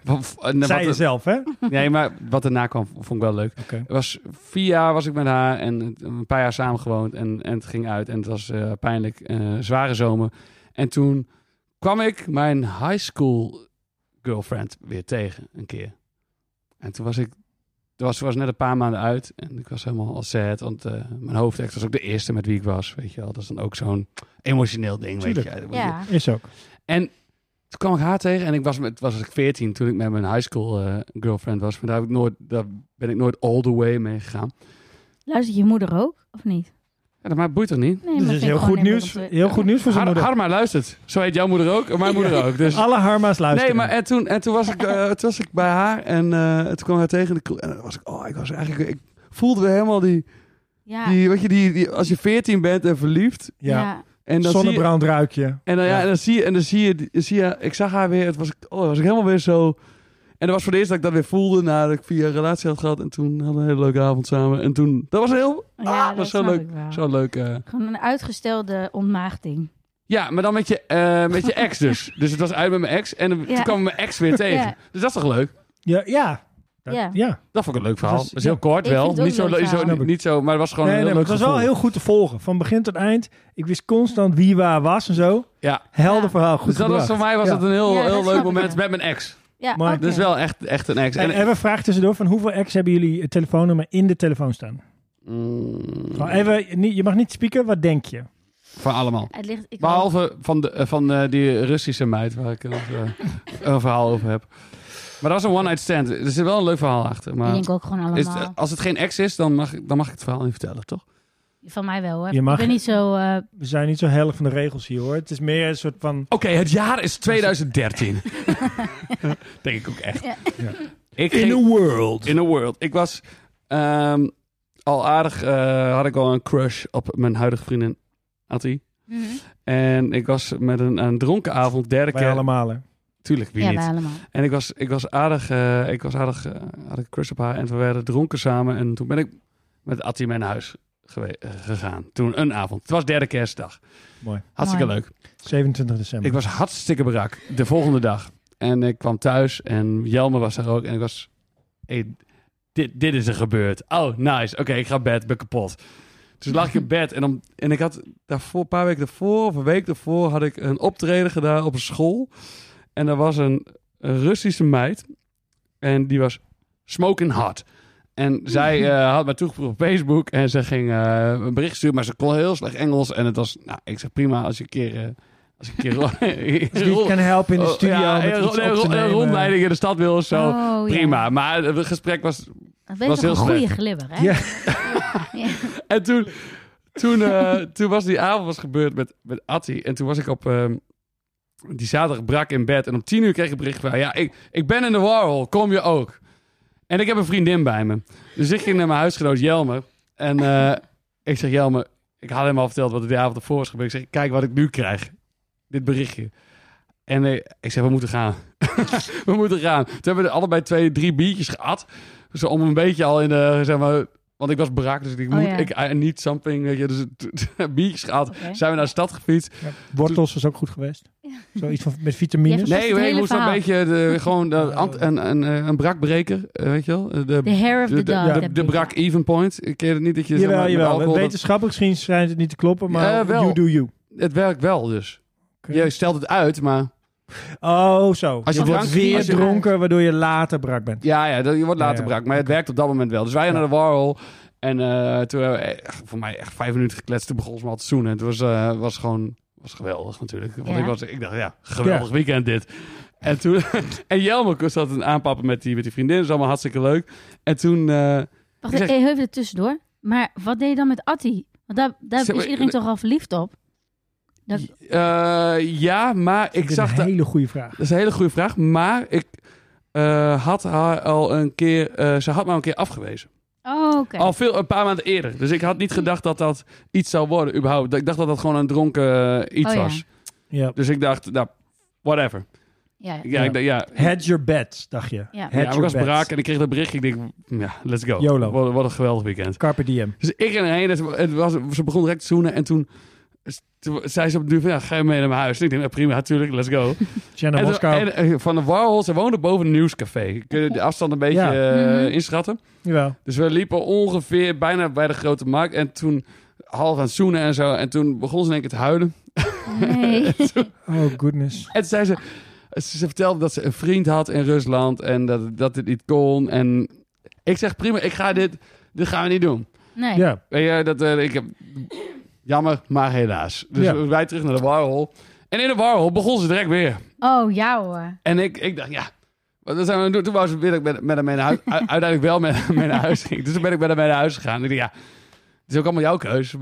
A: Want, eh, wat
B: Zij
A: er-
B: je zelf, hè?
A: nee, maar wat erna kwam, vond ik wel leuk.
B: Oké.
A: Het was vier jaar was ik met haar en het- een paar jaar samen gewoond. En, en het ging uit en het was eh, pijnlijk. eh, zware zomer. En toen kwam ik mijn high school girlfriend weer tegen een keer. En toen was ik... Ze was, ze was net een paar maanden uit en ik was helemaal al sad. Want eh, mijn hoofdex was ook de eerste met wie ik was. Weet je wel, dat is dan ook zo'n emotioneel ding. Weet je.
B: Tuurlijk.
C: Ja.
B: Is ook.
A: Toen kwam ik haar tegen en ik was, met, was ik 14 toen ik met mijn high school eh, girlfriend was. Maar daar, heb ik nooit, daar ben ik nooit all the way mee gegaan.
C: Luistert je moeder ook, of niet?
A: Ja, dat maakt boeit toch niet?
C: Nee, maar
B: Dus dat
C: vind
B: is
C: ik
B: heel
C: gewoon
B: goed
C: leuk
B: nieuws.
C: om te-
B: Heel goed nieuws voor zijn
A: Har
B: moeder.
A: Harma luistert. Zo heet jouw moeder ook en
B: *laughs*
A: mijn moeder ook. Dus.
B: Alle harma's
A: Nee,
B: luisteren.
A: maar en toen, en toen, was ik, eh, toen was ik bij haar en eh, toen kwam haar tegen. En ik- En dan was ik, oh, ik was eigenlijk, ik voelde weer helemaal die,
C: Ja.
A: die, weet je, die, die, als je 14 bent en verliefd.
B: Ja.
C: ja.
A: En dan zie je,
B: Zonnebrand ruik je.
A: en dan, ja,
B: Ja.
A: en dan zie je, en dan zie je, die- zie je ik zag haar weer. Het was, ik- oh, was ik helemaal weer zo. En dat was voor het eerst dat ik dat weer voelde nadat ik vier jaar een relatie had gehad. En toen hadden we een hele leuke avond samen. En toen, dat was een heel,
C: Ja,
A: ah,
C: dat
A: was zo
C: snap
A: leuk.
C: ik wel.
A: Zo leuk. eh,
C: Gewoon een uitgestelde ontmaagding.
A: Ja, maar dan met je, eh, met je ex
C: *laughs*
A: dus. Dus het was uit met mijn ex en dan-
C: Ja.
A: toen kwam mijn ex weer tegen.
C: Ja.
A: Dus dat is toch leuk?
B: Ja. Ja. Dat-
C: Ja.
B: ja.
A: Dat vond ik een leuk verhaal.
B: Dat is-
A: Dat is heel kort
C: Dus Ik
A: wel.
C: vind het ook
A: Niet zo,
C: een leuk
A: niet, zo,
B: verhaal.
A: niet zo, maar het was gewoon
B: Nee,
A: een
B: nee,
A: heel
B: maar
A: leuk
B: het was wel
A: gevoel.
B: heel goed te volgen. Van begin tot eind. Ik wist constant wie waar was en zo.
A: Ja.
B: Helder
C: Ja.
B: verhaal. Goed
A: Dus dat was,
B: gebracht.
A: voor mij was
B: Ja.
A: het een heel,
C: Ja, dat
A: heel
C: snap
A: leuk
C: ik,
A: moment
C: ja.
A: maar met mijn ex.
C: Ja,
B: Maar-
C: oké.
A: Dus wel echt, echt een ex.
B: En
A: En,
B: even een vraag tussendoor. Van hoeveel ex hebben jullie eh, telefoonnummer in de telefoon staan?
A: Mm,
B: Gewoon Oh, even, niet- je mag niet spieken. Wat denk je?
A: van allemaal.
C: Het ligt, ik
A: Behalve van, de, eh, van eh, die Russische meid waar ik nog, eh, een verhaal over heb. Maar dat was een one-night stand. Er zit wel een leuk verhaal achter.
C: ik
A: Maar
C: denk ook gewoon
A: is,
C: allemaal.
A: als het geen ex is, dan mag, dan mag ik het verhaal niet vertellen, toch? eh,
C: Van mij wel hoor.
B: Je mag-
C: Ik ben niet zo... eh,
B: We zijn niet zo heilig van de regels hier hoor. Het is meer een soort van...
A: Oké, het jaar is *laughs* 2013. Denk ik ook echt.
C: Ja.
B: Ja.
A: Ik ging-
B: world.
A: in a world. Ik was ehm, al aardig, eh, had ik al een crush op mijn huidige vriendin Attie.
C: mhm.
A: En ik was met een, een dronken avond, derde
B: Wij
A: keer.
B: allemaal hè.
A: Tuurlijk, wie
C: Ja,
A: niet.
C: wij allemaal.
A: En ik was, ik was aardig, eh, ik was aardig, eh, had ik een crush op haar. En we werden dronken samen. En toen ben ik met Attie mee naar huis gewe- eh, gegaan. Toen een avond. Het was derde kerstdag.
B: Mooi.
A: Hartstikke
C: Mooi.
A: leuk.
B: 27 december.
A: Ik was hartstikke brak de volgende dag. En ik kwam thuis en Jelme was daar ook. En ik was... hey, dit, dit is er gebeurd. Oh, nice. Oké, ik ga bed. Ben kapot. Dus lag ik in bed. En, om, en ik had daarvoor, een paar weken daarvoor... of een week daarvoor had ik een optreden gedaan op een school. En daar was een, een Russische meid. En die was smoking hot. En zij
B: *laughs*
A: eh, had mij toegevoegd op Facebook. En ze ging eh, een bericht sturen. Maar ze kon heel slecht Engels. En het was... Nou, ik zeg prima als je een keer... eh, als
B: *laughs*
A: je *laughs* een
B: Dus
A: keer...
B: die
A: rol-
B: kan helpen in de studio
A: Oh, ja,
B: met
A: en
B: iets
A: ro- en
B: op
A: ro-
B: te
A: en
B: nemen.
A: rondleiding in de stad wil of zo.
C: Oh, ja.
A: Prima, maar het gesprek was...
C: Dat ben je
A: Was
C: toch een
A: heel
C: goede glibber, hè?
B: Ja.
C: Ja.
A: *laughs* En toen, toen, eh, toen was die avond was gebeurd met, met Attie. En toen was ik op... ehm, die zaterdag brak in bed. En om tien uur kreeg ik een bericht van... Ja, ik, ik ben in de Warhol. Kom je ook? En ik heb een vriendin bij me. Dus ik ging naar mijn huisgenoot Jelmer. En eh, ik zeg, Jelmer, ik had hem al verteld wat er de avond ervoor was gebeurd. Ik zeg, kijk wat ik nu krijg. Dit berichtje. En eh, ik zeg, we moeten gaan. *laughs* we moeten gaan. Toen hebben we allebei twee, drie biertjes gehad. Dus om een beetje al in de, zeg maar... Want ik was brak, dus ik denk,
C: Oh,
A: moet,
C: ja.
A: ik, I need something. Weet je, dus t- biertjes gehad.
C: Oké.
A: Zijn we naar de stad gefietst.
B: Wortels was ook goed geweest. Zoiets van, met
C: Ja,
B: vitamines.
C: Dat was
A: Nee,
C: het
A: nee, ik
C: hele
A: moest wel een
C: verhaal.
A: beetje de, gewoon de, ant- een, een, eh, een brakbreker, eh, weet je wel? Eh, De,
C: De hair of
A: de,
C: the
A: de,
C: dog.
A: de-
C: heb
A: de
C: ik.
A: brak even point. Ik ken het niet dat je zeg maar,
B: Jawel,
A: met
B: jawel.
A: alcohol... dat-
B: Wetenschappelijk gezien schijnt het niet te kloppen, maar
A: Eh, wel.
B: you do you.
A: het werkt wel dus.
B: Oké.
A: Je stelt het uit, maar...
B: Oh, zo.
A: Als
B: Als
A: je
B: je, wordt
A: drank-
B: weer
A: als je-
B: dronken, waardoor je later brak bent.
A: Ja, ja dat, je wordt
B: Ja,
A: later
B: ja.
A: brak. Maar het werkt op dat moment wel. Dus wij naar de warhol. En eh, toen hebben we echt- voor mij echt vijf minuten gekletst. Toen begon ze me al te zoenen. Het was, eh, was gewoon was geweldig natuurlijk. Want
C: Ja.
A: ik, was, ik dacht, ja, geweldig weekend dit. En, toen, en Jelmer zat een aanpappen met die, met die vriendin. Dat is allemaal hartstikke leuk. En toen... eh, Ik
C: Wacht even,
A: zeg-
C: hey, even er tussendoor. Maar wat deed je dan met Atti? Want daar, daar
A: Zeg maar,
C: is iedereen toch al verliefd op? Dat,
A: Eh, ja, maar ik
B: Ik
A: zag
B: een
A: dat.
B: hele goede vraag.
A: Dat is een hele goede vraag. Maar ik eh, had haar al een keer. eh, ze had me al een keer afgewezen.
C: oh, oké.
A: Al veel, een paar maanden eerder. Dus ik had
C: Hm.
A: niet gedacht dat dat iets zou worden, überhaupt. Ik dacht dat dat gewoon een dronken eh, iets
C: Oh, ja.
A: was.
B: Ja.
A: Dus ik dacht, nou, whatever. *laughs*
C: Ja, ja.
A: Ja, ik dacht, ja.
B: Had your bet, dacht je.
C: Ja.
B: Had
A: Ja, maar ik
B: your
A: was
B: bet.
A: braak en ik kreeg dat bericht. Ik denk, ja, let's go.
B: YOLO.
A: Wat, wat een geweldig weekend.
B: Carpe diem.
A: Dus ik en heen, het het was, ze begon direct te zoenen en toen, toen zei ze op de duur van, ja, ga je mee naar mijn huis? En ik denk, ja, prima, natuurlijk, let's go.
B: Jenna
A: En,
B: Moskou.
A: en, eh, van de Warhol, ze woonde boven een nieuwscafé. Kun je de afstand een beetje
B: Ja.
A: eh,
C: Mhm.
A: inschatten?
B: Jawel.
A: Dus we liepen ongeveer bijna bij de grote markt. En toen half aan het zoenen en zo. En toen begon ze in één keer te huilen.
C: Nee.
B: Oh, goodness.
A: En toen zei ze... Ze ze vertelde dat ze een vriend had in Rusland. En dat, dat dit niet kon. En ik zeg, prima, ik ga dit... Dit gaan we niet doen.
C: nee.
B: Ja.
A: Weet je, dat, eh, ik heb... Jammer, maar helaas. Dus
B: Ja.
A: wij terug naar de Warhol. En in de Warhol begon ze direct weer.
C: Oh, ja hoor.
A: En ik, ik dacht, ja, wat zijn we aan het doen? Toen was het weer dat ik met, met haar mee naar huis, u- uiteindelijk wel met haar mee naar huis ging. Dus toen ben ik met haar mee naar huis gegaan. Ik dacht, ja, het is ook allemaal jouw keus. Eh,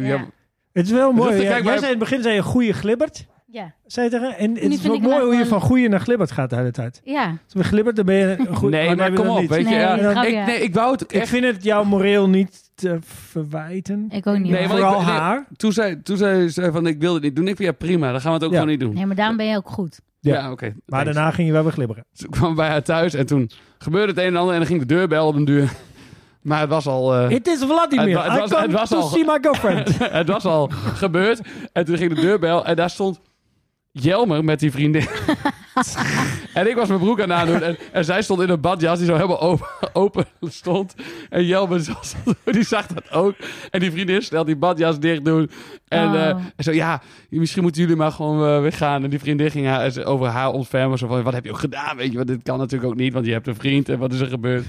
A: ja.
C: Ja.
B: Het is wel mooi.
A: Dus
B: Ja,
A: kijk,
B: jij
A: maar-
B: zei in het begin zei je goede glibbert.
C: Ja.
B: Zei je tegen? En het
C: Nu
B: is
C: vind
B: wel
C: ik hem
B: mooi hoe je
C: echt wel-
B: van goede naar glibbert gaat de hele tijd.
C: Ja.
B: Als je glibbert, dan ben je een goed.
A: nee,
B: oh,
A: maar
B: we
A: kom
B: dat
A: op,
B: niet.
A: weet je.
C: Nee,
A: ja.
C: dat grapje.
A: ik, nee, ik wou het
B: Ik
A: echt...
B: vind het jouw moreel niet te verwijten.
C: Ik ook niet.
A: Nee,
C: hoor.
A: want
B: Vooral
A: ik- nee.
B: haar.
A: Toen zei, toen zei ze van, ik wil het niet doen. Ik vind, ja, prima, dan gaan we het ook
B: Ja.
A: gewoon niet doen.
C: Nee, maar daarom ben je ook goed.
A: Ja,
B: Ja.
A: oké.
B: Maar
A: thanks.
B: daarna ging je wel weer glibberen.
A: Toen kwam ik bij haar thuis en toen gebeurde het een en ander. En dan ging de deurbel op een duur. *laughs* Maar het was al... eh,
B: Het is
A: Het
B: Vladimir.
A: wa- het was-
B: I come
A: het was
B: to
A: al-
B: see my girlfriend.
A: het was al gebeurd. En toen ging de deurbel en daar stond Jelmer met die vriendin. en ik was mijn broek aan het aandoen. En, en zij stond in een badjas die zo helemaal open, open stond. En Jelmer zat- die zag dat ook. En die vriendin snel die badjas dicht doen. En,
C: Oh.
A: eh, en zo, ja, misschien moeten jullie maar gewoon eh, weer gaan. En die vriendin ging haar, ze- over haar ontfermen. Zo van, wat heb je ook gedaan? Weet je, want dit kan natuurlijk ook niet. Want je hebt een vriend en wat is er gebeurd?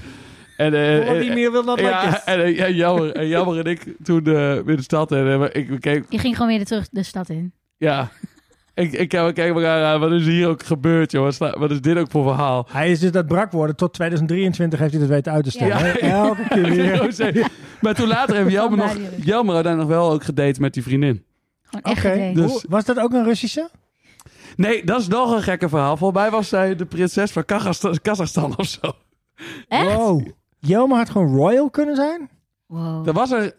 A: En, *laughs* eh, eh,
B: Vladimir wil dat
A: ja,
B: lekker.
A: en, eh, ja, jammer, en jammer en ik toen eh in de stad en eh, ik keek,
C: Je ging gewoon weer terug de stad in.
A: ja, ik, ik keek keek elkaar aan, wat is hier ook gebeurd, joh? Wat, sla- wat is dit ook voor verhaal?
B: Hij is dus dat brak worden. Tot 2023 heeft hij dat weten uit te stellen.
A: Ja.
B: hè? Elke keer
A: *laughs*
B: weer.
A: maar toen later heeft Jelmer nog,
C: Vandaar die-
A: Jelmer uiteindelijk nog wel ook gedate met die vriendin.
C: Gewoon echt
B: Oké.
C: gedate.
A: Dus-
B: Hoe- Was dat ook een Russische?
A: Nee, dat is nog een gekke verhaal. Volgens mij was zij de prinses van Kazachstan, Kazachstan of zo.
C: Echt?
B: Wow. Jelma had gewoon royal kunnen zijn?
C: Wow.
A: Er was er,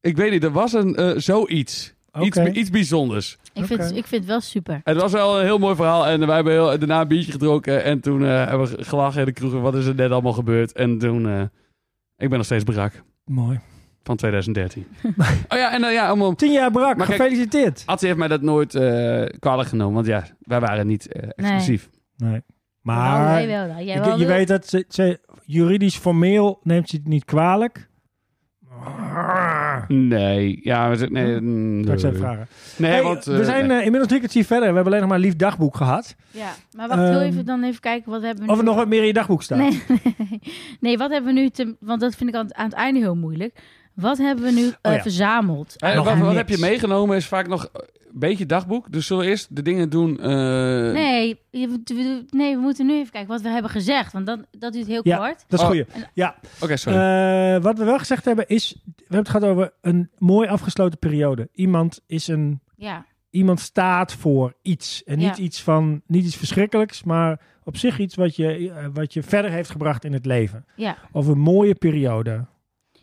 A: ik weet niet, er was een eh, zoiets. Iets,
B: Oké.
A: iets bijzonders.
C: Ik, vind,
B: Oké.
C: ik vind het wel super.
A: Het was wel een heel mooi verhaal. En wij hebben heel, daarna een biertje gedronken. En toen eh, hebben we gelachen in de kroeg. Wat is er net allemaal gebeurd? En toen... eh, ik ben nog steeds brak.
B: Mooi.
A: Van
B: *laughs*
A: 2013. oh ja, en dan ja, allemaal...
B: Tien jaar brak.
A: Maar kijk-
B: Gefeliciteerd.
A: Atze heeft mij dat nooit eh, kwalijk genomen. Want ja, wij waren niet eh, exclusief.
B: Nee.
A: Nou,
C: Wel,
B: Maar
C: jij wel, dan. jij
B: je,
C: wel
B: je
C: wil-
B: weet dat ze, ze- juridisch formeel neemt ze het niet kwalijk.
A: Nee. Ja, we zijn... Nee, mm,
B: Dat zijn vragen.
A: Nee,
B: Hey,
A: want... eh,
B: we zijn
A: nee.
B: eh, inmiddels drie kwartier verder. We hebben alleen nog maar lief dagboek gehad.
C: Ja, maar wacht, heel
B: Ehm,
C: even dan even kijken wat hebben we
B: Of
C: nu...
B: er nog wat meer in je dagboek staat.
C: Nee, *laughs* nee, wat hebben we nu... Te, want dat vind ik aan het, aan het einde heel moeilijk. Wat hebben we nu eh,
B: Oh ja.
C: verzameld?
A: Eh,
B: nog
A: wat, wat
B: niks.
A: heb je meegenomen is vaak nog een beetje dagboek. Dus zullen we eerst de dingen doen... eh,
C: Nee, je moet- we- nee, we moeten nu even kijken wat we hebben gezegd. Want dat, dat duurt heel
B: Ja.
C: kort.
B: Dat is
A: Oh,
B: goeie. Ja,
A: Oké, sorry.
B: Eh, wat we wel gezegd hebben is... We hebben het gehad over een mooi afgesloten periode. Iemand is een
C: Ja.
B: iemand staat voor iets. En niet,
C: Ja.
B: iets van, niet iets verschrikkelijks, maar op zich iets wat je, eh, wat je verder heeft gebracht in het leven.
C: Ja.
B: Of een mooie periode.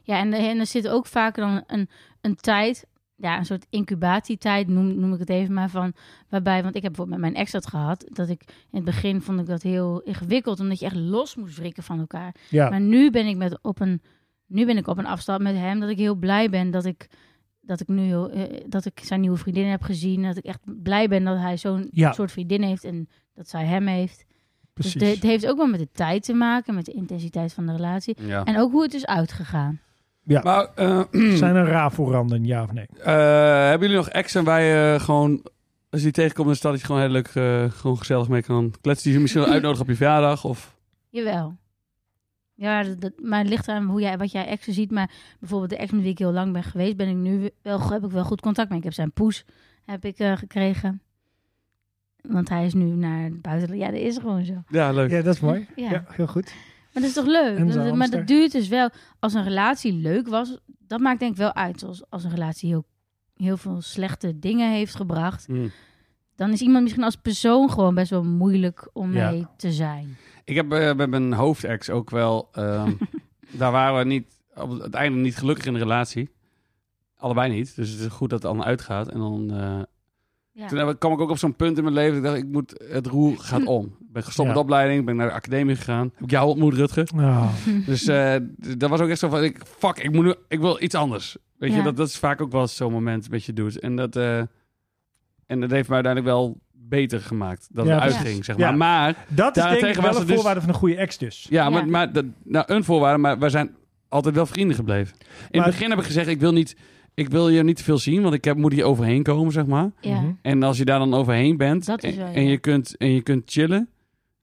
C: Ja, en, eh, en er zit ook vaker dan een, een tijd, ja, een soort incubatietijd noem, noem ik het even maar van. Waarbij, want ik heb bijvoorbeeld met mijn ex dat gehad, dat ik in het begin vond ik dat heel ingewikkeld, omdat je echt los moest wrikken van elkaar.
B: Ja,
C: Maar nu ben ik met op een, nu ben ik op een afstand met hem, dat ik heel blij ben dat ik, dat ik nu heel, eh, dat ik zijn nieuwe vriendin heb gezien, dat ik echt blij ben dat hij zo'n
B: Ja.
C: soort vriendin heeft en dat zij hem heeft.
B: precies.
C: Dus de- het heeft ook wel met de tijd te maken, met de intensiteit van de relatie.
A: Ja.
C: En ook hoe het is uitgegaan.
A: Maar eh,
B: *clears throat* Zijn er rafelranden, ja of nee?
A: eh, hebben jullie nog ex en wij eh, gewoon... Als je die tegenkomt in de stad, dat je gewoon heel leuk, eh, gewoon gezellig mee kan kletsen. Die je misschien wel uitnodigt op je verjaardag. Of...
C: Jawel. Ja, dat, dat- maar het ligt eraan hoe jij, wat jij exen ziet. Maar bijvoorbeeld de ex met wie ik heel lang ben geweest, ben ik nu wel, heb ik wel goed contact mee. Ik heb zijn poes heb ik, eh, gekregen. Want hij is nu naar het buitenland. Ja, dat is gewoon zo.
A: Ja, leuk.
B: Ja, dat is mooi.
C: Ja.
B: Ja, heel goed.
C: Maar dat is toch leuk?
B: En
C: Dat-
B: zijn
C: maar
B: hamster.
C: dat duurt dus wel. Als een relatie leuk was, dat maakt denk ik wel uit. Als, als een relatie heel, heel veel slechte dingen heeft gebracht,
A: Mm.
C: dan is iemand misschien als persoon gewoon best wel moeilijk om
B: Ja.
C: mee te zijn.
A: Ik heb eh, met mijn hoofdex ook wel. ehm, daar waren we niet, op het einde niet gelukkig in de relatie. Allebei niet. Dus het is goed dat het dan uitgaat. En dan. eh,
C: Ja.
A: Toen heb ik- kwam ik ook op zo'n punt in mijn leven. dat Ik dacht, ik moet, het roer gaat om. Ik ben gestopt
B: Ja.
A: met opleiding. Ben naar de academie gegaan. Heb ik jou ontmoet, Rutger.
B: Ah.
A: Dus eh, d- dat was ook echt zo van. Ik, fuck, ik, moet nu, ik wil iets anders. Weet je,
C: Ja.
A: dat, dat is vaak ook wel eens zo'n moment met je doet. En dat, eh, en dat heeft me uiteindelijk wel beter gemaakt. Dat
B: Ja,
A: het
C: precies.
A: uitging, zeg
B: Ja.
A: maar. Maar
B: Dat is denk ik
A: Daarentegen was
B: wel een
A: het dus-
B: voorwaarde van een goede ex dus.
A: Ja, maar,
C: Ja.
A: maar dat, nou, een voorwaarde, maar we zijn altijd wel vrienden gebleven. In
B: Maar-
A: het begin heb ik gezegd, ik wil, niet, ik wil je niet te veel zien, want ik heb, moet hier overheen komen, zeg maar.
C: Ja.
B: Mhm.
A: En als je daar dan overheen bent
C: Dat is
A: en,
C: wel, ja.
A: en je kunt, en je kunt chillen,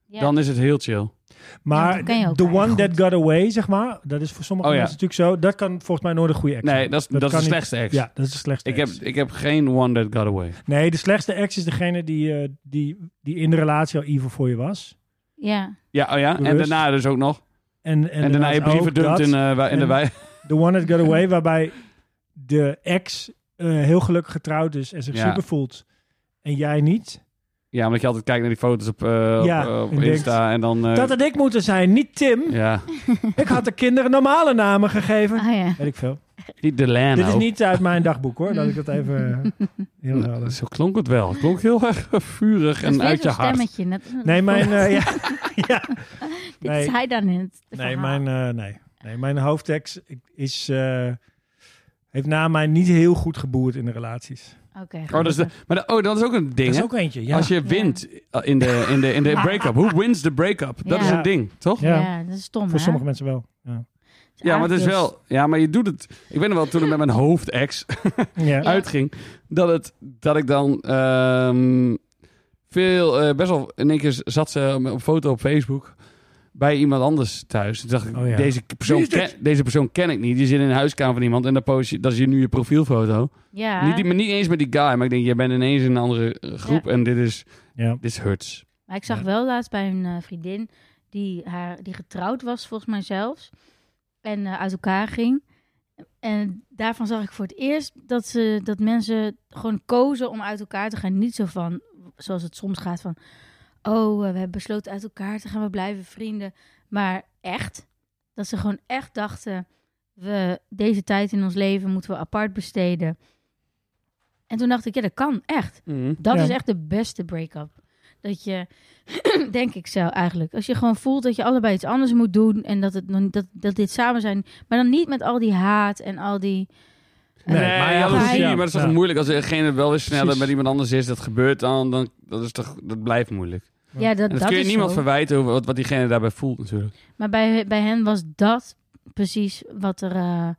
C: Ja.
A: dan is het heel chill.
C: Ja,
B: Maar
C: dat ken je ook
B: the one
C: eigenlijk
B: that got away, zeg maar, dat is voor sommige
A: Oh ja.
B: mensen natuurlijk zo. Dat kan volgens mij nooit een goede ex
A: Nee,
B: zijn.
A: dat is, dat is
B: kan
A: de
B: niet.
A: slechtste ex.
B: Ja, dat is de slechtste
A: ik, heb,
B: ex.
A: ik heb geen one that got away.
B: Nee, de slechtste ex is degene die, eh, die, die in de relatie al evil voor je was.
C: ja.
A: Ja, oh ja, en
B: Bewust.
A: daarna dus ook nog.
B: En,
A: En,
B: en,
A: daarna je
B: daarnaast
A: brieven
B: ook dat,
A: verdumpt in, eh, wa- in de
B: En-
A: wei. *laughs*
B: The one that got away, waarbij de ex eh, heel gelukkig getrouwd is en zich
A: Ja.
B: super voelt. En jij niet.
A: Ja, omdat je altijd kijkt naar die foto's op, eh,
B: Ja,
A: op, op
B: en denkt,
A: Insta en dan... eh,
B: Dat had ik moeten zijn, niet Tim.
A: ja,
B: Ik had de kinderen normale namen gegeven.
C: Ah ja.
B: Weet ik veel.
A: niet de Lano.
B: Dit is niet uit mijn dagboek hoor, dat ik dat even eh,
A: *laughs*
B: heel helder.
A: Zo klonk het wel. Het klonk heel erg vurig
C: Dat
A: en
C: is weer
A: uit je
C: zo'n
A: hart.
C: stemmetje. Net,
B: Nee, mijn, eh,
A: *laughs*
B: ja, ja.
C: dit
B: nee.
C: is hij dan in het
B: Nee,
C: verhaal.
B: mijn, eh, nee. nee, mijn hoofdex is, eh, heeft na mij niet heel goed geboerd in de relaties.
C: Oké,
A: Oh, dat is de-
C: gelukkig.
A: maar de- oh, dat is ook een ding,
B: Dat
A: hè?
B: is ook eentje, ja.
A: Als je wint eh, in de, in de, in
C: *laughs*
A: de break-up. Hoe wins de break-up? Dat
C: Ja.
A: is een ding, toch? Ja,
B: ja.
C: ja. dat is stom,
B: Voor
C: hè? dus-
B: sommige mensen wel. Ja.
C: Het
A: maar
C: is
A: het
B: dus-
A: is
C: aardig.
A: wel... Ja, maar je doet het... Ik weet nog wel, toen het met mijn hoofdex
B: Ja.
A: uitging... Dat, het, dat ik dan ehm, veel... eh, best wel... In één keer zat ze op een foto op Facebook... Bij iemand anders thuis. Toen dacht ik,
B: Oh ja.
A: deze, persoon
B: Wie is
A: ken,
B: dit?
A: deze persoon ken ik niet. Die zit in een huiskamer van iemand. En dan post je, dat is je nu je profielfoto.
C: Ja,
A: Niet, die- maar niet eens met die guy. Maar ik denk, je bent ineens in een andere eh, groep. En dit is...
B: Ja.
A: Dit hurts.
C: maar ik zag
B: Ja.
C: wel laatst bij een eh, vriendin die, haar, die getrouwd was, volgens mij zelfs. En eh, uit elkaar ging. En daarvan zag ik voor het eerst dat, ze, dat mensen gewoon kozen om uit elkaar te gaan. Niet zo van, zoals het soms gaat, van... Oh, eh, we hebben besloten uit elkaar te gaan, we blijven vrienden. Maar echt, dat ze gewoon echt dachten... We, deze tijd in ons leven moeten we apart besteden. En toen dacht ik, ja, dat kan, echt.
A: Mhm.
C: Dat
B: Ja.
C: is echt de beste break-up. Dat je, *clears throat* denk ik zo eigenlijk, als je gewoon voelt dat je allebei iets anders moet doen en dat, het, nog niet- dat, dat dit samen zijn, maar dan niet met al die haat en al die. eh,
A: Nee,
B: Nee, maar
A: maar,
B: ja,
A: ja, dat
C: goed,
A: is-
B: ja.
A: maar dat is toch
B: Ja.
A: moeilijk als degene wel weer sneller
B: Precies.
A: met iemand anders is. Dat gebeurt dan, dan dat, is toch, dat blijft moeilijk. En
B: Ja.
C: Ja, dat,
A: dat,
C: dat
A: kun je
C: is
A: niemand
C: zo.
A: verwijten over wat, wat diegene daarbij voelt natuurlijk.
C: Maar bij, bij hen was dat precies wat er. eh,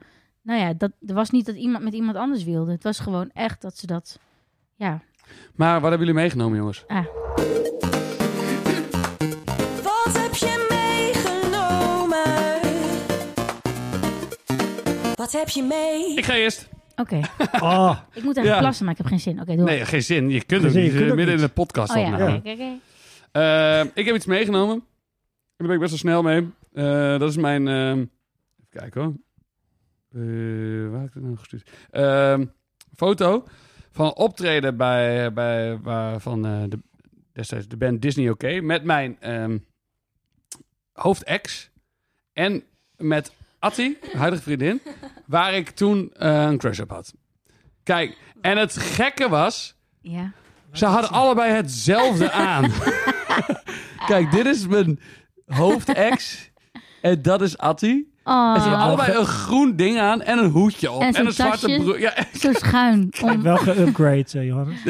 C: nou ja, dat, er was niet dat iemand met iemand anders wilde. Het was gewoon echt dat ze dat. Ja,
A: Maar wat hebben jullie meegenomen, jongens?
C: ah,
D: Wat heb je meegenomen? Wat heb je mee?
A: Ik ga eerst.
C: oké.
B: Oh,
C: ik moet even
A: Ja.
C: plassen, maar ik heb geen zin. Oké, doe.
A: Nee, geen zin. Je kunt
B: Geen
A: het
B: zin, je
A: niet.
B: kunt
A: eh,
B: ook
A: midden in
B: niet.
A: de podcast
C: oh ja,
A: opnemen.
C: oké, oké, oké.
A: Eh, ik heb iets meegenomen. Daar ben ik best wel snel mee. Eh, dat is mijn... ehm, even kijken hoor. Eh, waar heb ik het nou gestuurd? Ehm, Eh, foto van een optreden bij, bij, waar- van eh, de, destijds de band Disney OK. Met mijn ehm hoofdex en met Atti, huidige vriendin, waar ik toen eh, een crush op had. Kijk, en het gekke was,
C: Ja.
A: ze hadden allebei hetzelfde aan. Kijk, dit is mijn hoofdex en dat is Atti. En ze hebben
C: Oh,
A: allebei een groen ding aan en een hoedje op.
C: En
A: En,
C: zo'n
A: een zwarte
C: tasje.
A: broek. Ja,
C: zo schuin. Om...
B: Wel geupgrade, eh, Johannes.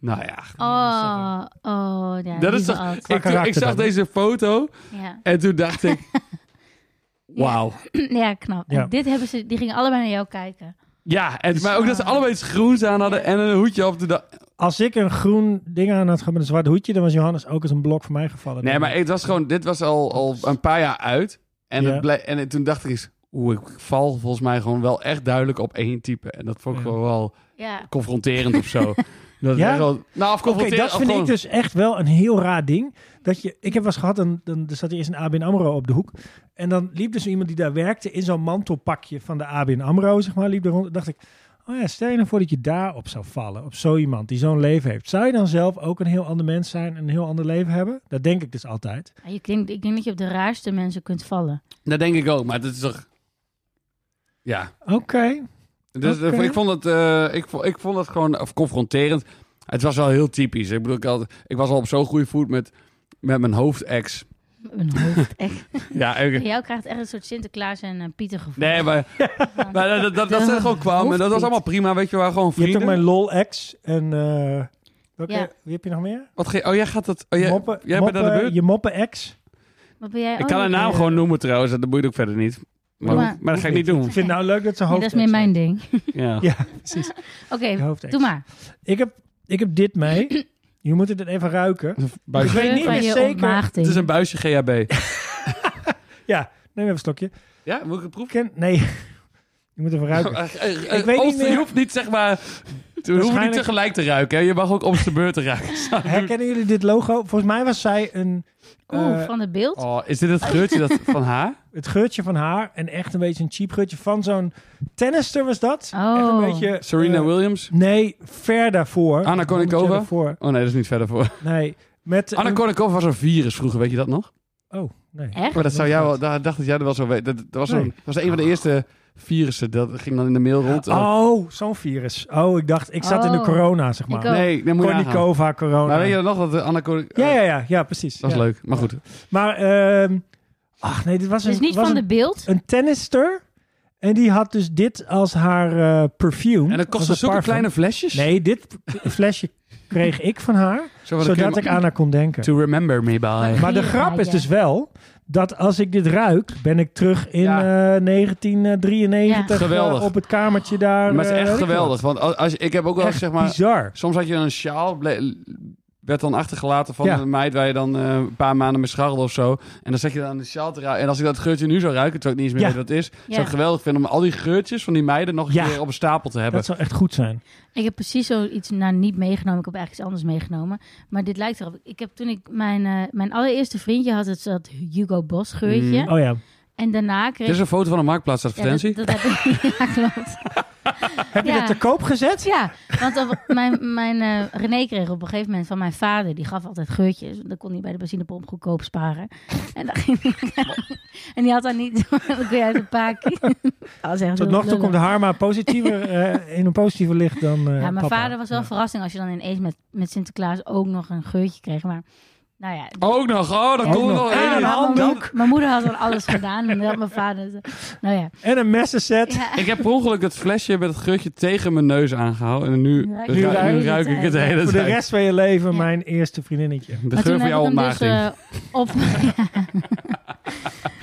A: nou ja.
C: Oh, oh, ja.
A: Dat is
C: lieve
A: toch,
C: Ad.
A: ik, toen- ik
B: karakter
A: zag
B: dan, hè?
A: deze foto
C: Ja. *clears throat*
A: en toen dacht ik... Wauw.
C: ja, knap. En
B: Ja.
C: Dit hebben ze, die gingen allebei naar jou kijken.
A: Ja, en, maar ook dat ze allebei iets groens aan hadden en een hoedje op. Toen dacht-
B: Als ik een groen ding aan had gehad met een zwart hoedje, dan was Johannes ook als een blok voor mij gevallen.
A: Nee, maar het was gewoon, dit was al, al een paar jaar uit. En, het
B: Ja.
A: blij- en toen dacht ik eens, oeh, ik val volgens mij gewoon wel echt duidelijk op één type. En dat vond ik
B: Ja.
A: gewoon wel
C: Ja.
A: confronterend of
B: *laughs*
A: zo. Dat
B: Ja?
A: echt wel- nou, of
B: Oké,
A: confronterend.
B: dat
A: of
B: vind
A: gewoon-
B: ik dus echt wel een heel raar ding. Dat je, ik heb wel eens gehad, dan, dan er zat er eerst een ABN AMRO op de hoek. En dan liep dus iemand die daar werkte in zo'n mantelpakje van de ABN AMRO, zeg maar, liep er rond. dacht ik, oh ja, stel je nou voor dat je daarop zou vallen, op zo iemand die zo'n leven heeft. Zou je dan zelf ook een heel ander mens zijn en een heel ander leven hebben? Dat denk ik dus altijd.
C: Ja, Ik denk, ik denk dat je op de raarste mensen kunt vallen.
A: Dat denk ik ook, maar dat is toch... Ja,
B: Oké.
A: Dus eh,
B: Oké.
A: ik, vond het, eh, ik, vond, ik vond het gewoon of confronterend. Het was wel heel typisch. Ik bedoel, ik, had, ik was al op zo'n goede voet met, met mijn hoofdex. *laughs*
C: Een hoofd. Echt.
A: Ja, ik-
C: Bij jou krijgt echt een soort Sinterklaas en eh, Pieter gevoel.
A: nee, maar, maar dat, dat, dat, dat ze gewoon kwam en dat was allemaal prima. Weet je waar gewoon
B: Je hebt ook
A: vrienden.
B: mijn LOL-ex en... eh, welke,
C: Ja.
B: Wie heb je nog meer?
A: Wat ge- oh, jij gaat dat. Oh, jij,
B: moppen,
A: jij bent aan de
B: moppen-
A: beurt.
B: Je moppen-ex.
C: Wat ben jij?
A: ik kan
C: oh,
A: haar
C: ja.
A: naam gewoon noemen trouwens. Dat boeit ook verder niet. Maar,
C: Maar-
A: maar dat ga ik niet doen.
B: Ik vind het nou leuk dat ze
C: Nee,
B: hoofd
C: dat is meer mijn ding.
A: Ja.
B: Ja, precies.
C: Oké,
B: Je hoofdex.
C: doe maar.
B: Ik heb, ik heb dit mee.
A: *clears throat*
B: Je moet het even ruiken. Ik
A: Buisje-
B: weet niet
C: Van
B: meer
C: je
B: zeker.
C: ontmaagding.
A: Het is een buisje GHB.
B: Ja, neem even een stokje.
A: Ja, moet ik het proeven? Eh,
B: Ken, nee, *laughs* je moet
A: *laughs*
B: even ruiken.
A: Ik
B: Ik weet niet
A: Je
B: meer.
A: hoeft niet zeg *laughs* maar. Je hoeft niet
B: Waarschijnlijk-
A: tegelijk te ruiken. Hè? Je mag ook op zijn beurt ruiken.
B: Herkennen jullie dit logo? Volgens mij was zij een,
C: Oeh,
B: eh,
C: van het beeld?
A: *laughs* Oh, is dit het geurtje *laughs* dat, van haar?
B: het geurtje van haar. En echt een beetje een cheap geurtje van zo'n tennister was dat.
C: Oh.
B: Echt een beetje,
A: Serena
B: eh,
A: Williams?
B: Nee, ver daarvoor.
A: Anna Kournikova?
B: Ver daarvoor.
A: Oh nee, dat is niet verder voor.
B: Nee,
A: *laughs*
B: met...
A: Anna
B: een-
A: Kournikova was een virus vroeger, weet je dat nog?
B: Oh, nee.
C: Echt?
A: Maar dat zou jou wel, daar dacht dat jij er wel zo weet. Dat, dat was,
B: Nee.
A: een, dat was een van de eerste virussen. Dat ging dan in de mail rond.
B: Oh, zo'n virus. Oh, ik dacht, ik zat in de
C: Oh.
B: corona, zeg maar.
C: Ik ook.
A: nee, nee, moet je nagaan.
B: Kournikova, corona.
A: Maar weet je dat nog? Dat eh, Anna Kournikova...
B: Ja, ja, ja, ja, precies.
A: Dat was
B: Ja. Hm?
A: leuk, maar goed.
B: Maar, ehm ach nee, dit was,
C: Dus
B: een,
C: niet
B: was
C: van
B: een,
C: de beeld?
B: een tennister. En die had dus dit als haar eh, perfume.
A: En dat kostte
B: Als haar
A: zulke
B: parfum.
A: kleine flesjes.
B: Nee, dit flesje kreeg ik van haar,
A: Zo van, dan kun je
B: zodat
A: hem-
B: ik aan haar kon denken.
A: To remember me by.
B: Maar de
C: Ja,
B: grap is
C: ja.
B: dus wel dat als ik dit ruik, ben ik terug in
A: Ja.
B: eh, 1993
A: Ja. Geweldig.
B: eh, op het kamertje daar.
A: Maar het is
B: eh,
A: echt
B: weet ik
A: geweldig. Want als, als- ik heb ook wel
B: wat.
A: eens, zeg
B: Echt
A: maar...
B: bizar.
A: Soms had je een sjaal, ble- werd dan achtergelaten van
B: Ja.
A: een meid waar je dan eh, een paar maanden mee scharrelde of zo. En dan zet je dan aan de sjaal te ruiken. En als ik dat geurtje nu zou ruiken, terwijl ik niet eens meer
B: Ja.
A: weet wat het is,
C: Ja.
A: zou ik geweldig vinden om al die geurtjes van die meiden nog een
B: Ja.
A: keer op een stapel te hebben.
B: Dat zou echt goed zijn.
C: Ik heb precies zoiets nou, niet meegenomen. Ik heb eigenlijk iets anders meegenomen. Maar dit lijkt erop. Ik heb toen ik mijn, eh, mijn allereerste vriendje had, het dat Hugo Boss geurtje.
A: Mm.
B: Oh ja.
C: En daarna
A: Dit
C: kreeg
A: is een foto van een
C: Ja, dat-
A: marktplaatsadvertentie.
C: dat heb ik- *laughs* ja, klopt.
B: *laughs* Heb je
C: Ja.
B: dat te koop gezet?
C: Ja, want op- mijn, mijn eh, René kreeg op een gegeven moment van mijn vader, die gaf altijd geurtjes. want Dan kon hij bij de benzinepomp goedkoop sparen. En, dan ging hij- *laughs* en die had dan niet, *laughs* dan kun je uit een *laughs* pakje.
B: Tot nog toe komt de Harma
C: *laughs*
B: positiever, eh, in een positiever licht dan eh,
C: eh, Ja, mijn
B: papa.
C: vader was wel een
B: Ja.
C: verrassing als je dan ineens met, met Sinterklaas ook nog een geurtje kreeg. Maar nou ja,
A: Ook nog, oh, dan
B: Ook
A: komt er
B: nog. Ah, nou.
A: nog
B: En
A: één.
B: een
C: maar
B: handdoek.
C: Mijn, moeder- mijn moeder had al alles gedaan. En dan had mijn vader. zo- Nou ja.
B: En een messenset.
C: ja.
A: Ik heb per ongeluk het flesje met het geurtje tegen mijn neus aangehouden. En nu,
C: Nu ruik
A: ru-
B: je het.
A: nu ruik ik het de hele
B: Voor de
A: tijd.
B: rest van je leven
C: Ja.
B: mijn eerste vriendinnetje.
A: De
C: Maar
A: geur van
C: toen heb
A: jouw
C: ik hem dus
A: ontmaagding.
C: eh, op. *laughs*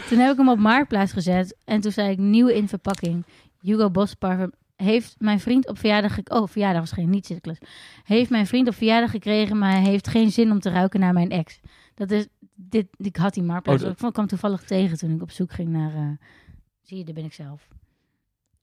C: toen heb ik hem op marktplaats gezet. En toen zei ik nieuw in verpakking. Hugo Boss parfum. Heeft mijn vriend op verjaardag... gek- Oh, verjaardag was geen, niet Sinterklaas. Heeft mijn vriend op verjaardag gekregen, maar hij heeft geen zin om te ruiken naar mijn ex. Dat is... Dit, ik had die marktplaats.
A: Oh, dat-
C: Ik vond- kwam toevallig tegen toen ik op zoek ging naar... eh, zie je, daar ben ik zelf.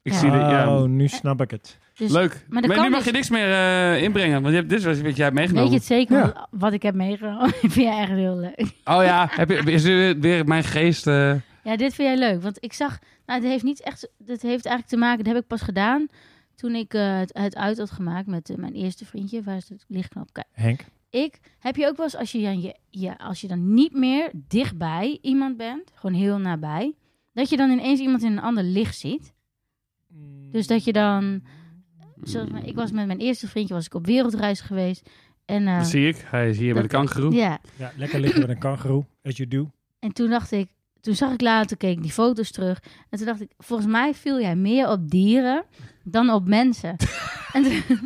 A: ik
C: ja.
A: zie de, ja.
B: Oh, nu snap ik het.
C: Dus
A: Leuk.
C: Maar
A: Maar,
C: dat
A: nu
C: kan
A: mag
C: dus.
A: je niks meer eh, inbrengen. Want je hebt, dit is wat jij hebt meegenomen.
C: Weet je het zeker?
B: Ja.
C: Want Wat ik heb meegenomen *laughs* vind jij eh, echt heel leuk.
A: Oh ja, heb je, is er weer mijn geest... eh,
C: Ja, dit vind jij leuk. Want ik zag, nou, dit heeft niet echt, dit heeft eigenlijk te maken, dat heb ik pas gedaan toen ik eh, het, het uit had gemaakt met eh, mijn eerste vriendje, waar is het lichtknop? Kijk,
B: Henk.
C: ik heb je ook wel eens als je, dan je, je, als je dan niet meer dichtbij iemand bent, gewoon heel nabij, dat je dan ineens iemand in een ander licht ziet. Dus dat je dan, zoals, ik was met mijn eerste vriendje, was ik op wereldreis geweest. En, eh,
A: Dat zie ik. Hij is hier bij de
C: Dat-
A: kangeroe.
C: ja,
B: Ja, lekker liggen met een kangeroe. As you do.
C: en toen dacht ik, toen zag ik later, keek ik die foto's terug. En toen dacht ik, volgens mij viel jij meer op dieren dan
A: *laughs*
C: op mensen. en, toen,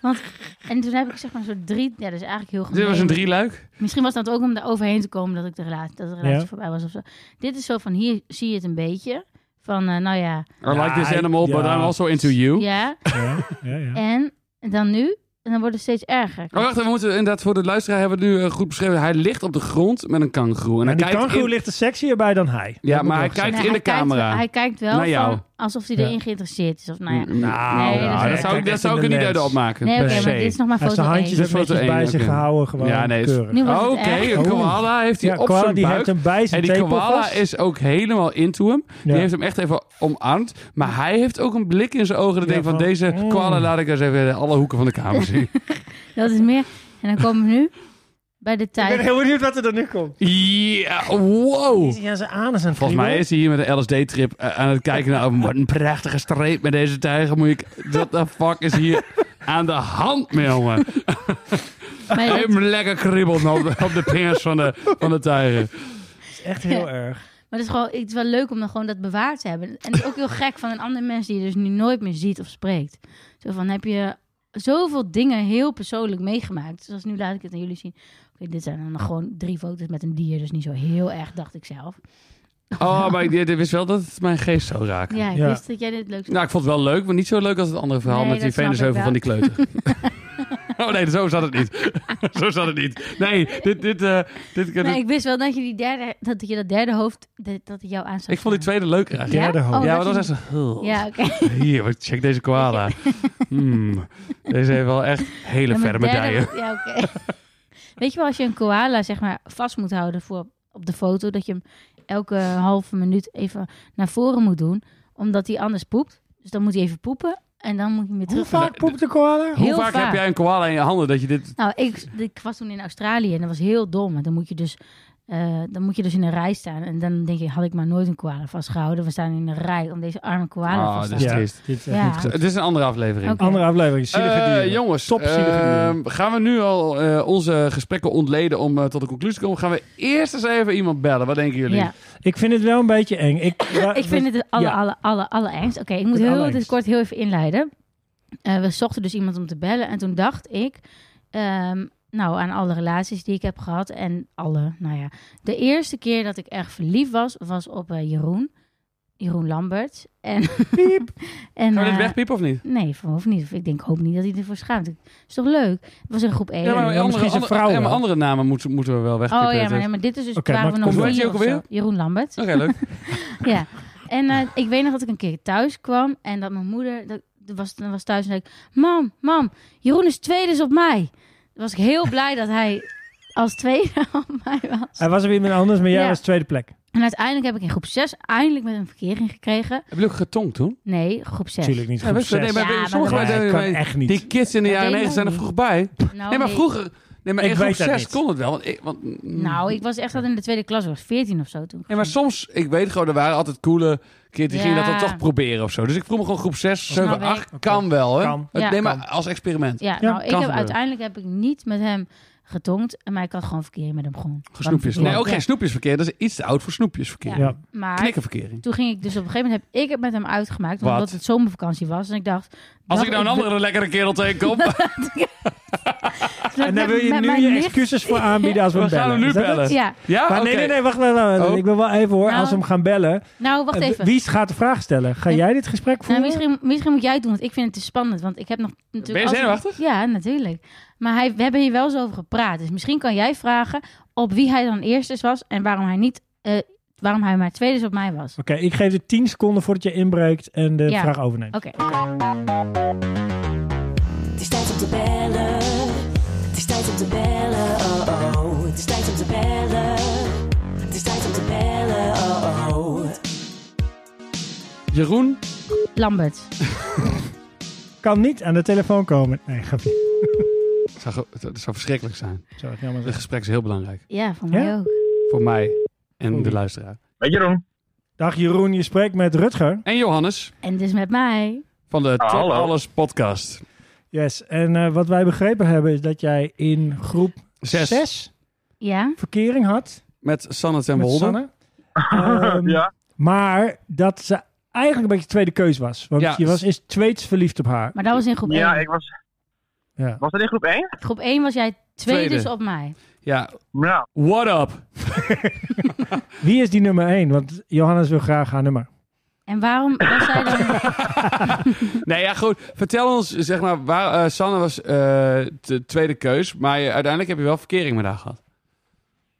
C: want, en toen heb ik zeg maar een soort drie, ja dat is eigenlijk heel gemeen.
A: Dit was een drieluik.
C: Misschien was dat ook om daar overheen te komen dat ik de relatie, dat de relatie
B: Ja.
C: voorbij was of zo. Dit is zo van hier zie je het een beetje. Van eh, nou ja,
A: I like this
B: Ja,
A: animal, but
B: ja.
A: I'm also into you. *laughs*
C: *laughs* ja,
B: Ja, ja, ja.
C: en dan nu. En dan wordt het steeds erger. Nou,
A: Oh, wacht, we moeten inderdaad voor de luisteraar hebben we het nu eh, goed beschreven. Hij ligt op de grond met een kangeroe. En
B: Maar
A: hij
B: die
A: kijkt
B: kangeroe
A: in-
B: ligt er sexier bij dan hij.
A: Ja, maar
B: Dat moet
A: hij
B: wel gezegd
A: kijkt
C: Nee,
A: in de
C: hij kijkt-
A: camera.
C: hij kijkt wel
A: Naar jou.
C: van, alsof hij
B: Ja.
C: erin geïnteresseerd is. Of nou ja.
A: Mm,
B: Nou,
C: Nee, dat is-
A: nou, dat zou ik-
B: Kijk,
A: dat zou ik er
B: in de
A: niet uit
B: lens.
A: opmaken.
C: Nee, oké,
B: per se.
C: maar dit is nog maar
B: Hij heeft
C: foto
B: zijn
C: 1.
B: handjes
A: Dit is
B: ook
A: foto
B: netjes
A: één,
B: bij
A: oké.
B: zich gehouden. Gewoon
A: Ja, nee, is-
B: keurig.
C: Nu was
A: Oké,
C: het erg.
A: een
B: Oeh.
A: koala heeft hij
B: Oh. ja,
A: op
B: koala,
A: zijn
B: die heeft
A: buik.
B: hem bij
A: En
B: zijn
A: die koala
B: tepelvast.
A: is ook helemaal into hem.
B: Ja.
A: Die heeft hem echt even omarmd. Maar hij heeft ook een blik in zijn ogen. Dat
B: Ja,
A: denkt van,
B: van,
A: deze
B: mm.
A: koala laat ik eens even alle hoeken van de kamer zien.
C: Dat is meer. En dan komen we nu bij de
B: Ik
C: tijd.
B: ben heel benieuwd wat er dan nu komt.
A: Ja, wow.
B: Is hij aan zijn anus aan
A: Volgens
B: het
A: mij
B: kriebelen?
A: is hij hier met een LSD-trip eh, aan het kijken naar oh, wat een prachtige streep met deze tijger. Moet ik, what the fuck is hier aan de hand, mee, jongen?
C: Maar dat-
A: Hem lekker kriebelt op de, op de vingers van de, van de tijger.
B: Het is echt heel erg.
C: Maar het is, gewoon, het is wel leuk om dan gewoon dat bewaard te hebben. En het is ook heel gek van een ander mens die je dus nu nooit meer ziet of spreekt. Zo van, heb je zoveel dingen heel persoonlijk meegemaakt. Zoals nu laat ik het aan jullie zien. Oké, dit zijn dan gewoon drie foto's met een dier. Dus niet zo heel erg, dacht ik zelf.
A: Oh, maar ik ik wist wel dat het mijn geest zou raken.
C: Ja, ik
B: Ja.
C: wist dat jij dit leuk zou
A: Nou, ik vond het wel leuk, maar niet zo leuk als het andere verhaal
C: Nee,
A: met die
C: dat snap
A: venensheuvel
C: ik
A: van
C: wel.
A: die kleuter. *laughs* oh nee, zo zat het niet. zo zat het niet. Nee, dit... dit, eh, dit
C: Nee, ik wist wel dat je, die derde, dat, je dat derde hoofd, dat, dat het jou aan zou
A: ik vond die
C: slaan.
A: tweede leuker eigenlijk.
B: Ja? derde hoofd.
C: Oh,
A: Ja, maar
C: dat
A: dat was
C: je-
A: echt zo...
C: Ja, oké.
A: Hier, wat- check deze koala. Hmm, Deze heeft wel echt hele
C: Ja, maar
A: verre medaille.
C: derde- Ja, oké. *laughs* Weet je wel, als je een koala zeg maar vast moet houden voor op de foto, dat je hem elke halve minuut even naar voren moet doen, omdat hij anders poept. Dus dan moet hij even poepen en dan moet je hem weer
B: Hoe
C: terug.
B: vaak poept de koala?
A: Hoe
C: heel
A: vaak
C: vaak.
A: heb jij een koala in je handen dat je dit...
C: Nou, ik, ik was toen in Australië en dat was heel dom. Want dan moet je dus, eh, dan moet je dus in een rij staan en dan denk je, had ik maar nooit een koala vastgehouden. We staan in een rij om deze arme koala
A: Ah,
C: vast te
A: dat is
C: houden.
B: Ja,
A: triest.
B: dit is echt
C: Ja.
B: niet goed.
A: Het is een andere aflevering.
C: Oké.
B: Andere aflevering, zielige
A: Eh,
B: dieren.
A: jongens,
B: Top zielige
A: eh,
B: dieren.
A: gaan we nu al eh, onze gesprekken ontleden om eh, tot de conclusie te komen? Gaan we eerst eens even iemand bellen? Wat denken jullie?
C: Ja.
B: Ik vind het wel een beetje eng.
C: *laughs*
B: Ik,
C: Ik vind het het alle,
B: Ja.
C: alle, alle, alle engst. Oké, ik moet
B: Het
C: heel
B: allerengst.
C: dit kort heel even inleiden. Eh, we zochten dus iemand om te bellen. En toen dacht ik, ehm, nou, aan alle relaties die ik heb gehad. En alle, nou ja. De eerste keer dat ik echt verliefd was, was op eh, Jeroen. Jeroen Lambert.
B: *laughs*
C: En, *laughs*
A: Gaan
C: en,
A: we dit
C: eh,
A: wegpiepen of niet?
C: Nee, van hoeft niet. Ik denk, hoop niet dat hij ervoor schaamt. is toch leuk? Het was in groep 1.
B: maar misschien zijn vrouw
A: ja, maar
B: wel.
A: andere namen moeten, moeten we wel
C: oh
A: wegpiepen.
C: ja, maar,
A: Dat-
C: nee, maar dit is dus...
B: Oké,
C: waren
B: maar
C: we nog
A: hoe heet
C: vier
A: je ook
C: of zo.
A: alweer?
C: Jeroen Lambert.
A: Oké, leuk.
C: Ja. En eh, ik weet nog dat ik een keer thuis kwam en dat mijn moeder dat, dat was, dat was thuis en zei ik: Mam, mam, Jeroen is tweede is op mij. Dan was ik heel blij dat hij als tweede *laughs* op mij was.
B: Hij was er weer iemand anders, maar jij
C: Ja.
B: was tweede plek.
C: En uiteindelijk heb ik in groep 6 eindelijk met een verkering gekregen.
A: Heb je ook getongd toen?
C: Nee, groep 6.
B: Natuurlijk niet.
A: Ja,
B: Groep
A: weet je,
B: zes.
A: nee, maar
C: Ja, maar
A: sommige
C: dat-
A: mensen-
B: Nee, kan echt niet.
A: Die kids in de
C: Dat
A: jaren
C: weet ik
A: 90 zijn er
C: niet.
A: vroeg bij.
C: Nou,
A: Nee, maar vroeger... Nee, maar in
B: Ik
A: groep
B: weet dat
A: 6
B: niet.
A: kon het wel. Want ik, want, mm,
C: Nou, ik was echt al in de tweede klas, ik was 14 of zo toen.
A: Nee, maar soms... Ik weet gewoon, er waren altijd coole kids die gingen dat dan
C: Ja.
A: toch proberen of zo. Dus ik vroeg me gewoon groep 6, 7,
C: snap ik.
A: 8. Kan wel, hè?
B: Kan.
A: Het-
C: Ja,
A: nee, maar
B: kan.
A: als experiment.
C: Ja,
B: Ja,
C: nou, ik
A: kan
C: heb,
A: gebeuren.
C: uiteindelijk heb ik niet met hem getongd, maar ik had gewoon verkering met hem gewoon.
A: Snoepjes. Nee, ook
C: Ja.
A: geen snoepjesverkeer. Dat is iets te oud voor snoepjesverkeer.
B: Ja.
C: Maar
A: Knikkenverkering.
C: Toen ging ik dus op een gegeven moment heb ik het met hem uitgemaakt,
A: Wat?
C: omdat het zomervakantie was. En ik dacht.
A: Als
C: dat-
A: ik nou een andere lekkere kerel tegenkom,
C: dat-
B: En daar wil je
C: met
B: nu
C: mijn
B: je
C: nicht-
B: excuses voor aanbieden als we,
A: we
B: hem bellen.
A: gaan hem nu
B: Is dat het?
A: bellen. *laughs*
C: Ja,
A: Ja,
B: Maar nee,
A: oké.
B: nee, nee, wacht, wacht, wacht, wacht.
A: Oh.
B: Ik wil wel even hoor,
C: Nou.
B: als we hem gaan bellen.
C: nou wacht
B: eh,
C: even.
B: Wie gaat de vraag stellen? Ga
C: Nee.
B: jij dit gesprek
C: Nou,
B: voeren?
C: misschien, misschien moet jij het doen, want ik vind het te spannend. Want ik heb nog natuurlijk.
A: Ben je
C: als-
A: zenuwachtig?
C: Ja, natuurlijk. Maar hij, we hebben hier wel eens over gepraat. Dus misschien kan jij vragen op wie hij dan eerst is was en waarom hij niet. eh, waarom hij maar tweede is op mij was.
B: Oké, ik geef het 10 seconden voordat je inbreekt en de
C: Ja.
B: vraag overneemt.
C: Oké.
D: Het is tijd om te bellen. Het is tijd om te bellen. Oh oh. Het is tijd om te bellen. Het is tijd om te bellen. Oh oh.
A: Jeroen
C: Lambert.
B: kan niet aan de telefoon komen. Nee, grapje.
A: Het zou, ge- het zou verschrikkelijk zijn.
B: Zou ik jammer
A: Het
B: zeggen.
A: gesprek is heel belangrijk.
C: Ja, voor
B: Ja?
C: mij ook.
A: Voor mij en
B: Oei.
A: de luisteraar.
F: Met Jeroen.
B: Dag Jeroen, je spreekt met Rutger.
A: En Johannes
C: En dus met mij.
A: van de
F: Ah,
A: Top
F: hallo.
A: Alles podcast.
B: Yes, en eh, wat wij begrepen hebben is dat jij in groep
A: Zes.
B: 6
C: Ja,
B: verkering had
A: Met Sanne ten
B: met
A: Wolde.
B: Sanne. Ehm,
F: *laughs* ja.
B: Maar dat ze eigenlijk een beetje tweede keus was. Want
A: Ja.
B: je was eerst tweets verliefd op haar.
C: maar dat was in groep 1.
F: ja, ik was...
B: Ja.
F: Was dat in groep 1?
C: Groep 1 was jij twee
A: Tweede.
C: dus op mij.
A: Ja, Nou,
F: Ja.
A: what up?
B: Wie is die nummer 1? Want Johannes wil graag haar nummer.
C: En waarom was zij dan...
A: Nee, ja, goed. Vertel ons, zeg maar, waar, eh, Sanne was eh, de tweede keus. Maar je- uiteindelijk heb je wel verkering met haar gehad.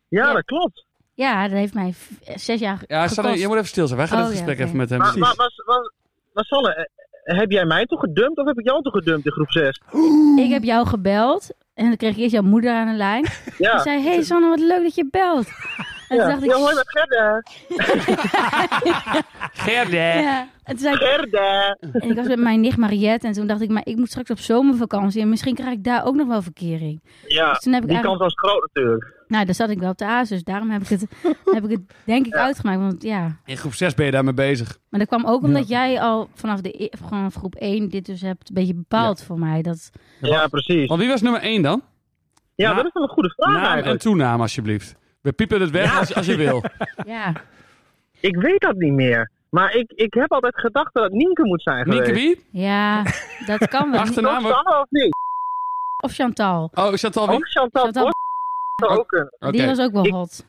F: Ja,
C: Ja.
F: dat klopt.
C: Ja, dat heeft mij v- eh, zes jaar
A: Ja,
C: gekost.
A: Sanne, je moet even stil zijn. Wij gaan
C: Oh,
A: het
C: ja,
A: gesprek
C: oké.
A: even met hem.
F: Maar, maar,
A: Precies.
F: was, was, was Sanne, eh, heb jij mij toch gedumpt of heb ik jou toch gedumpt in groep 6?
C: Ik heb jou gebeld. En dan kreeg ik eerst jouw moeder aan de lijn.
F: Ja.
C: Die zei, hey Sanne, wat leuk dat je
F: *laughs*
C: belt. En
F: ja.
C: Dus, eh, toen dacht ik...
F: ja, hoi met Gerda.
C: ja. En toen zei ik,
F: Gerda.
C: En ik was met mijn nicht Mariette en toen dacht ik, maar ik moet straks op zomervakantie en misschien krijg ik daar ook nog wel verkering.
F: Ja,
C: Dus toen heb ik
F: die kans
C: eigenlijk-
F: was groot natuurlijk.
C: Nou, daar zat ik wel op de A's, dus daarom heb ik
F: *laughs*
C: het, heb ik het denk ik uitgemaakt. Want ja,
A: In groep 6 ben je daarmee bezig.
C: maar dat kwam ook omdat jij al vanaf de e- vanaf groep 1 dit dus hebt een beetje bepaald voor mij. Dat,
F: Ja, precies.
A: Want wie was nummer 1 dan?
F: Ja,
A: Na-
F: dat is wel een goede vraag
A: Naam en
F: Ah, eigenlijk.
A: toenaam, alsjeblieft. We piepen het weg als, als je wil.
C: ja,
F: Ik weet dat niet meer. Maar ik, ik heb altijd gedacht dat het Nienke moet zijn geweest.
A: Nienke wie?
C: ja, dat kan wel.
A: Achterna-
F: Toch
A: Naam ook-
F: Sanne of niet?
C: Of Chantal,
A: Oh, is dat al wie?
F: Ook Chantal
C: Chantal
F: Bos zou ook een...
A: Oké.
C: Oh, die was ook wel
F: Ik-
C: hot.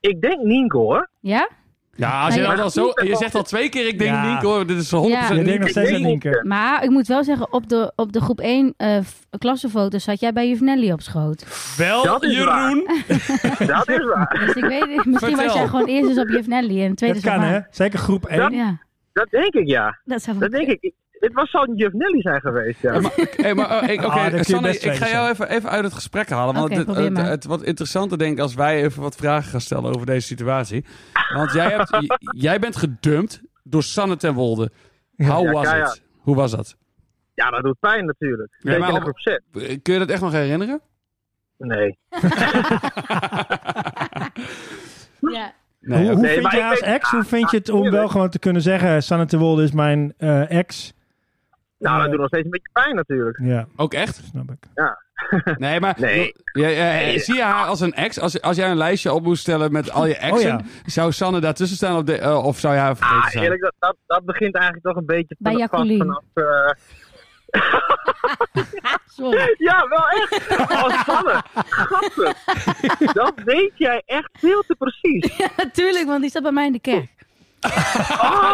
F: Ik denk Nienke
C: *laughs*
F: hoor.
C: Ja?
A: Ja, als je,
C: Nou ja.
A: dat al zo, je zegt al twee keer, ik denk
B: Ja.
A: Nienke hoor. Dit is 100%
B: Je
C: Ja.
B: denkt nog
A: Nienke.
B: steeds
F: Ik
B: aan
F: denk
B: Nienke.
C: Maar ik moet wel zeggen, op de, op de groep 1 eh f- klassenfoto zat jij bij Juvenelli op schoot.
A: Wel,
F: Dat is waar.
A: Jeroen.
F: Dat is waar.
C: Dus ik weet niet, *laughs* misschien was
A: Vertel.
C: jij gewoon eerst eens op Juvenelli en tweede
B: Dat kan hè? Zeker groep 1.
C: Ja,
F: Dat denk ik ja.
C: dat zou wel
F: Dat denk ik. Ik- Het was zou Juf Nelly zijn geweest, ja.
A: maar, hey, maar,
F: *laughs*
A: eh, ik- oké,
B: Ah, dat kun je
A: Sanne,
B: best
A: ik ga
B: weten,
A: jou even, even uit het gesprek halen. Want
C: Oké,
A: het,
C: probeer
A: het,
C: maar.
A: het wordt interessanter denk ik als wij even wat vragen gaan stellen over deze situatie. Want jij,
F: *laughs*
A: hebt, j- jij bent gedumpt door Sanne ten Wolde. How
F: Ja,
A: was
F: ja, ja.
A: het? Hoe was dat?
F: Ja, dat doet pijn natuurlijk.
A: Ja,
F: Zeker
A: maar
F: in
A: op-
F: groep 6.
A: Eh, Kun je dat echt nog herinneren?
F: Nee.
C: Ja.
A: Nee,
B: hoe
A: oké.
B: hoe
F: Nee,
B: vind
F: maar
B: je
F: ik
B: als
F: weet- Ah,
B: ex, hoe vind je het om wel
F: tuurlijk.
B: gewoon te kunnen zeggen... Sanne de Wolde is mijn eh, ex.
F: Nou,
B: Eh,
F: dat doet nog steeds een beetje pijn natuurlijk.
B: Ja,
A: Ook echt?
B: snap ik.
A: Nee, maar
F: Nee.
A: Ja, ja, ja, zie je haar als een ex? Als, als jij een lijstje op moest stellen met al je exen,
B: Oh
A: zou Sanne daartussen staan op de, eh, of zou jij haar vergeten
F: Ah,
A: zijn?
F: eerlijk, dat, dat, dat begint eigenlijk toch een beetje
C: Bij
F: vanaf-
C: Jacqueline.
F: vanaf... eh, *laughs*
C: Sorry.
F: Ja, wel echt. Als Sanne. Gasten.
C: *laughs*
F: Dat weet jij echt veel te precies.
C: *laughs* Natuurlijk, want die zat bij mij in de kerk.
A: Ah,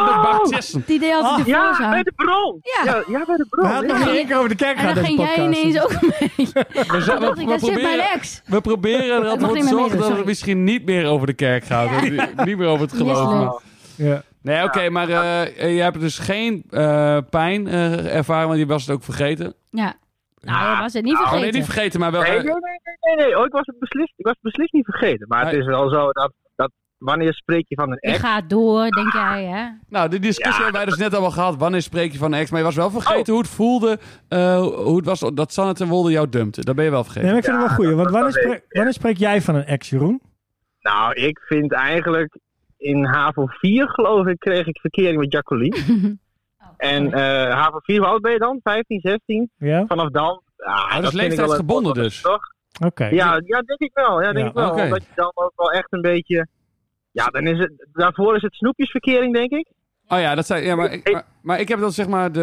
A: de
F: Oh.
A: baptisten.
C: Die deed altijd de
F: Ja,
C: voorzang.
F: bij de bron.
C: Ja.
F: Ja, ja bij de
B: We
F: bron.
B: hadden
F: ja.
B: nog geen keer over de kerk
C: Oh, En
B: gehad
C: dan
B: deze
C: ging jij
B: podcast.
C: ineens ook mee.
A: We,
C: Toen
A: zullen-
C: dacht
A: we,
C: ik,
A: we
C: dat zit mijn
A: proberen,
C: ex.
A: we proberen
C: mag
A: ervoor
C: niet
A: te
C: meer
A: zorgen
C: meedoen,
A: dat het
C: sorry.
A: misschien niet meer over de kerk gaat. Dat het Niet meer over
C: *laughs*
A: het geloof.
C: Yes,
A: gaat.
C: leuk.
B: Ja.
A: Nee, oké, maar eh, eh, je hebt dus geen eh, pijn eh, ervaren, want je was het ook vergeten.
C: Ja. Nou, dat was het niet
A: Oh,
C: vergeten.
A: nee, niet vergeten, maar wel...
F: Nee,
A: eh,
F: nee, nee, nee, nee, nee. Oh, ik was het beslist, ik was het beslist niet vergeten. Maar het
A: Nee.
F: is wel zo dat, dat wanneer spreek je van een
C: Je
F: ex?
C: gaat door, denk jij, hè?
A: nou, die discussie hebben wij dus net allemaal gehad. Wanneer spreek je van een ex? Maar je was wel vergeten hoe het voelde, eh, hoe het was dat Sanne ten Wolde jou dumpte. Dat ben je wel vergeten.
B: Nee, maar ik vind het wel goed. Want wanneer,
F: dat weet
B: spreek, wanneer spreek jij van een ex, Jeroen?
F: Nou, ik vind eigenlijk in HAVO 4, geloof ik, kreeg ik verkering met Jacqueline. En eh HAVO 4, hoe oud ben je dan? 15, 16?
B: Ja? Oké.
F: Vanaf dan?
A: dat is
F: Ah, vind ik wel een-
A: leeftijdsgebonden dus.
F: Toch? Ja, ja, denk ik wel. Ja, denk
B: Ja,
F: ik wel.
A: oké.
F: Omdat je dan ook wel echt een beetje... Ja, dan is het, daarvoor is het snoepjesverkering, denk ik.
A: Oh ja, dat zijn. Ja, maar, ik, maar, maar ik heb dan zeg maar de.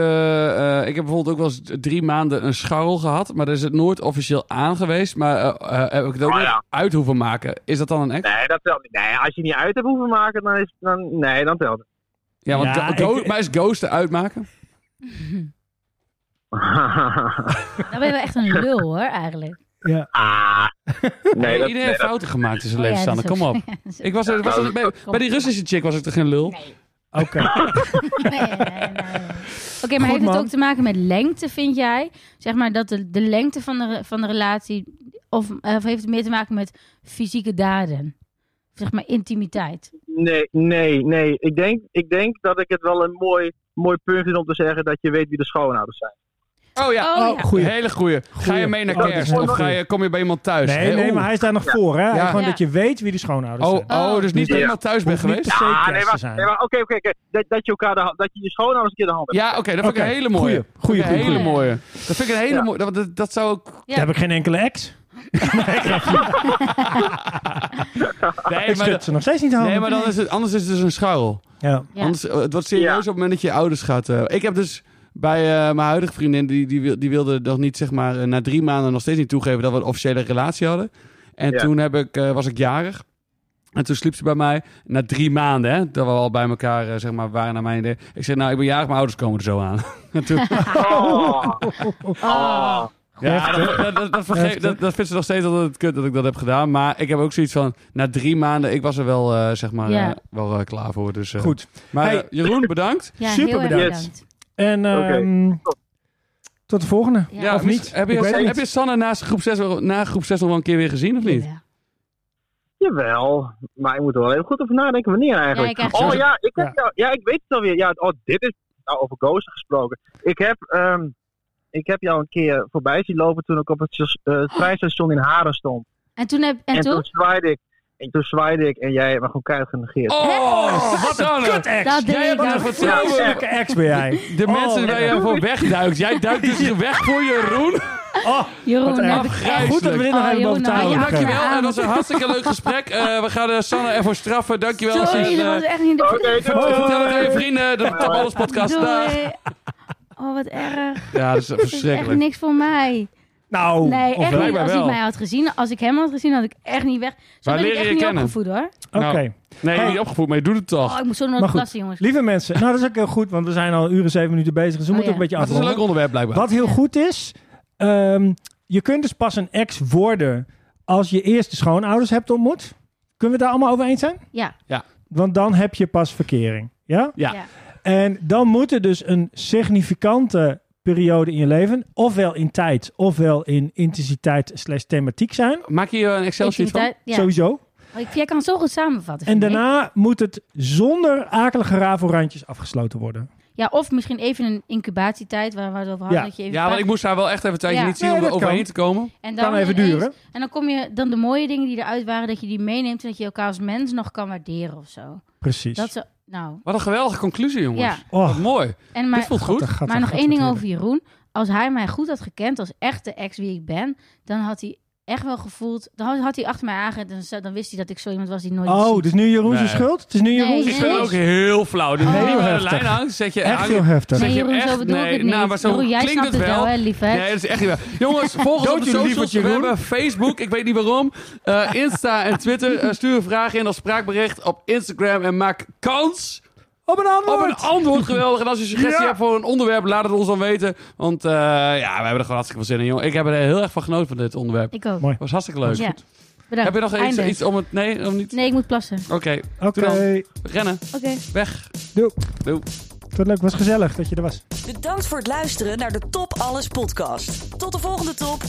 A: eh, ik heb bijvoorbeeld ook wel eens drie maanden een scharrel gehad. Maar daar is het nooit officieel aan geweest. Maar eh, eh, heb ik het ook
F: Ah,
A: niet
F: ja.
A: uit hoeven maken? Is dat dan een ex?
F: Nee, dat telt niet. Nee, als je niet uit hebt hoeven maken, dan is dan, Nee, dan telt het. *laughs*
A: Ja, want
B: Ja,
A: go- go-
B: ik-
A: maar is ghosten uitmaken?
C: Dan ben je wel echt een lul, hoor, eigenlijk. *laughs*
B: Ja.
A: *laughs*
F: ah. Nee, dat,
A: Iedereen heeft fouten gemaakt in zijn
C: Oh ja,
A: leven, Sanne.
C: dat is
A: Kom
C: ook-
A: op.
C: *laughs*
A: Ik was, er- was er- bij, bij die Russische chick was ik er geen lul.
B: Oké.
C: Nee, nee, nee, nee. Oké, maar
B: Goed,
C: heeft het
B: man.
C: ook te maken met lengte, vind jij? Zeg maar dat de, de lengte van de, re- van de relatie... Of, eh, of heeft het meer te maken met fysieke daden? Zeg maar intimiteit.
F: Nee, nee, nee. Ik denk, ik denk dat ik het wel een mooi, mooi punt vind om te zeggen dat je weet wie de schoonouders zijn.
A: Oh ja,
C: Oh,
B: Oh,
C: ja.
B: goeie.
A: hele goeie. Ga je
B: Goeie.
A: mee naar
B: Oh, dat is
A: kerst?
B: wel
A: Of
B: leuk.
A: ga je, kom je bij iemand thuis?
B: Nee,
A: Hè?
B: nee,
A: Oeh.
B: maar hij is daar nog voor, hè?
A: Ja.
B: Gewoon
C: Ja.
B: dat je weet wie de schoonouders
A: Oh,
B: zijn.
A: oh, dus niet
B: Ja.
A: dat iemand thuis bent
B: Hoeft niet
A: geweest?
B: per se
F: Ah, nee,
B: kerst te
F: wacht.
B: zijn.
F: Nee, maar oké, oké. oké. Dat, dat je elkaar de, hand- dat je je schoonouders een keer de hand hebt.
A: Ja, oké, dat vind ik
B: Oké,
A: een hele mooie.
B: goeie, goeie,
A: Vind ik een
C: goeie,
A: hele
C: goeie.
A: mooie. Dat vind ik een hele
F: Ja.
A: mooie. Dat, dat, dat zou ook.
C: Ja.
B: Daar heb ik geen enkele ex.
A: Nee,
B: Ik
A: maar,
B: schud ze nog steeds niet aan.
A: nee, maar dan is het, anders is het dus een schuil.
B: Ja.
C: Ja.
A: Anders, eh, het wordt serieus
F: Ja.
A: op het moment dat je je ouders gaat. eh, ik heb dus bij eh, mijn huidige vriendin, die, die, wil- die wilde nog niet, zeg maar, eh, na drie maanden nog steeds niet toegeven dat we een officiële relatie hadden. En
F: Ja.
A: toen heb ik, eh, was ik jarig. En toen sliep ze bij mij na drie maanden, hè, dat we al bij elkaar eh, zeg maar, waren naar mijn idee. Ik zei, nou, ik ben jarig, mijn ouders komen er zo aan. *laughs* En toen,
F: *laughs* Oh. Oh.
A: ja, dat, dat, dat, dat, vergeet- dat, dat vindt ze nog steeds dat het kut dat ik dat heb gedaan. Maar ik heb ook zoiets van, na drie maanden, ik was er wel, eh, zeg maar,
C: Ja.
A: eh, wel eh, klaar voor. Dus, eh,
B: Goed.
A: Maar
B: Hey.
A: eh, Jeroen, bedankt.
C: Ja,
B: Super
C: heel erg
B: bedankt.
C: bedankt.
B: En ehm, tot de volgende.
A: Ja,
C: Ja.
A: of niet? Heb je,
B: Ik weet het
A: heb je
B: niet.
A: Sanne naast groep 6, wel- na groep 6 nog wel een keer weer gezien, of niet?
C: Ja.
F: Jawel, maar ik moet er wel even goed over nadenken wanneer eigenlijk.
C: Ja, ik krijg
F: oh
C: zo-
F: ja ik, heb
B: Ja.
F: jou- ja, ik weet het alweer. Ja, oh, dit is nou, over gozer gesproken. Ik heb, ehm, ik heb jou een keer voorbij zien lopen toen ik op het, stas- eh, het treinstation in Haren stond.
C: En toen heb en
F: en toen
C: toen?
F: zwaaide ik. En toen zwaaide ik en jij hebt me gewoon keihard genegeerd.
A: Oh, wat Sanne!
B: Kut ex.
C: Dat deed
A: Jij
C: ik nou
A: hebt
C: ook.
A: er vertrouwen.
B: Welke ex ben jij?
A: De mensen
B: Oh,
A: waar je voor wegduikt. Jij duikt dus hier weg voor Jeroen.
B: Oh,
C: Jeroen, daar heb ik echt-
A: afgrijs-
B: goed dat we dit nog
C: Oh,
B: even boven
C: Jonah,
B: tafel
C: ja.
B: hebben gekregen.
A: Nou, Dankjewel.
C: Ja.
A: En dat was een hartstikke leuk gesprek. Eh, we gaan eh, Sanne ervoor straffen. Dankjewel.
C: Sorry, dat
A: En,
C: was
A: eh,
C: echt niet
F: Oké,
C: de
F: doei.
B: Hoi,
A: Vertel het aan je vrienden. De Top Alles podcast. Dag.
C: Doei. Oh, wat erg.
A: Ja, dat is
C: Dit is echt
A: verschrikkelijk.
C: niks voor mij.
B: Nou,
C: Nee,
B: of
C: echt
B: wel?
C: niet.
A: blijkbaar
C: Als ik
A: wel.
C: mij had gezien, als ik hem had gezien, had ik echt niet weg. Zo
A: Waar
C: ben ik
A: leer
C: echt
A: je
C: niet
A: kennen?
C: opgevoed hoor.
B: Oké.
A: Nou. Nee,
B: Hey.
A: niet opgevoed, maar je doet het toch.
C: Oh, ik moet zo naar
B: Maar
C: de
B: goed.
C: klas, jongens.
B: Lieve mensen, nou dat is ook heel goed, want we zijn al uren zeven minuten bezig, dus we
C: Oh,
B: moeten
C: ja.
B: ook een beetje
A: Maar het is een leuk
B: afronden.
A: onderwerp, blijkbaar.
B: Wat heel
C: Ja.
B: goed is, ehm, je kunt dus pas een ex worden als je eerst de schoonouders hebt ontmoet. Kunnen we het daar allemaal over eens zijn?
C: Ja.
B: Want dan heb je pas verkering. Ja?
A: Ja.
C: Ja.
B: En dan moet er dus een significante periode in je leven, ofwel in tijd, ofwel in intensiteit slash thematiek zijn.
A: Maak je hier een Excel-sheet van?
C: Intensiteit- ja.
B: Sowieso.
C: Oh, ik- Jij kan het zo goed samenvatten.
B: En
C: vind ik.
B: daarna moet het zonder akelige rafelrandjes afgesloten worden.
C: Ja, of misschien even een incubatietijd waar we het over hadden.
B: Ja.
C: Dat je even
A: Ja, want
C: praat.
A: ik moest haar wel echt even een tijdje
C: Ja.
A: niet zien
B: Nee,
A: om er
B: dat
A: overheen
B: kan.
A: te komen.
C: en
B: Kan
C: dan
B: even
C: ineens-
B: duren.
C: En dan kom je dan de mooie dingen die eruit waren, dat je die meeneemt en dat je elkaar als mens nog kan waarderen of zo.
B: Precies.
C: Dat ze, nou,
A: Wat een geweldige conclusie, jongens.
C: Ja.
B: Oh.
A: Wat mooi.
C: en maar,
A: Dit voelt goed.
B: Gattig, gattig,
C: maar nog
B: gattig
C: één ding
B: natuurlijk.
C: over Jeroen. Als hij mij goed had gekend als echte ex wie ik ben, dan had hij echt wel gevoeld, dan had, had hij achter mij aangezet en zo- dan wist hij dat ik zo iemand was die nooit iets
B: Oh,
C: ziet.
B: dus nu Jeroen zijn
A: Nee.
B: schuld? Het is nu Jeroen
C: Nee,
A: Ik
B: zijn
C: nee.
A: vind
B: schuld?
A: het ook heel flauw. Dus
C: Oh.
A: heel
B: Heel
A: de
B: heftig.
A: lijn hangt, zet je
B: Echt
A: hang-
B: heel heftig.
A: zeg
C: Nee,
A: je
C: Jeroen,
A: echt-
C: zo bedoel
A: nee,
C: ik het niet.
A: nou, maar zo
C: Jeroen, jij
A: klinkt
C: snapt
A: het wel.
C: hè, lief hè?
A: Nee, dat is echt niet waar.
B: *laughs*
A: Jongens, volg ons
B: Dood
A: op de
B: jullie
A: socials. We
B: lieverd, Jeroen.
A: hebben Facebook, ik weet niet waarom, eh, Insta en Twitter. Eh, stuur een vraag in als spraakbericht op Instagram en maak kans
B: Op een
A: op
B: antwoord!
A: een antwoord. Geweldig. En als je suggestie
B: Ja.
A: hebt voor een onderwerp, laat het ons dan weten. Want eh, ja, we hebben er gewoon hartstikke veel zin in, jongen. Ik heb er heel erg van genoten van dit onderwerp.
C: Ik ook.
B: Mooi.
A: was hartstikke leuk.
C: Ja.
A: Heb
C: Bedankt.
A: je nog iets,
C: Einde.
A: iets om het... Nee, om niet...
C: Nee, ik moet plassen.
A: Oké,
B: Oké,
A: rennen,
C: Oké.
A: weg.
B: doe.
A: Doe.
B: Tot leuk, was gezellig dat je er was.
D: Bedankt voor het luisteren naar de Top Alles podcast. Tot de volgende top.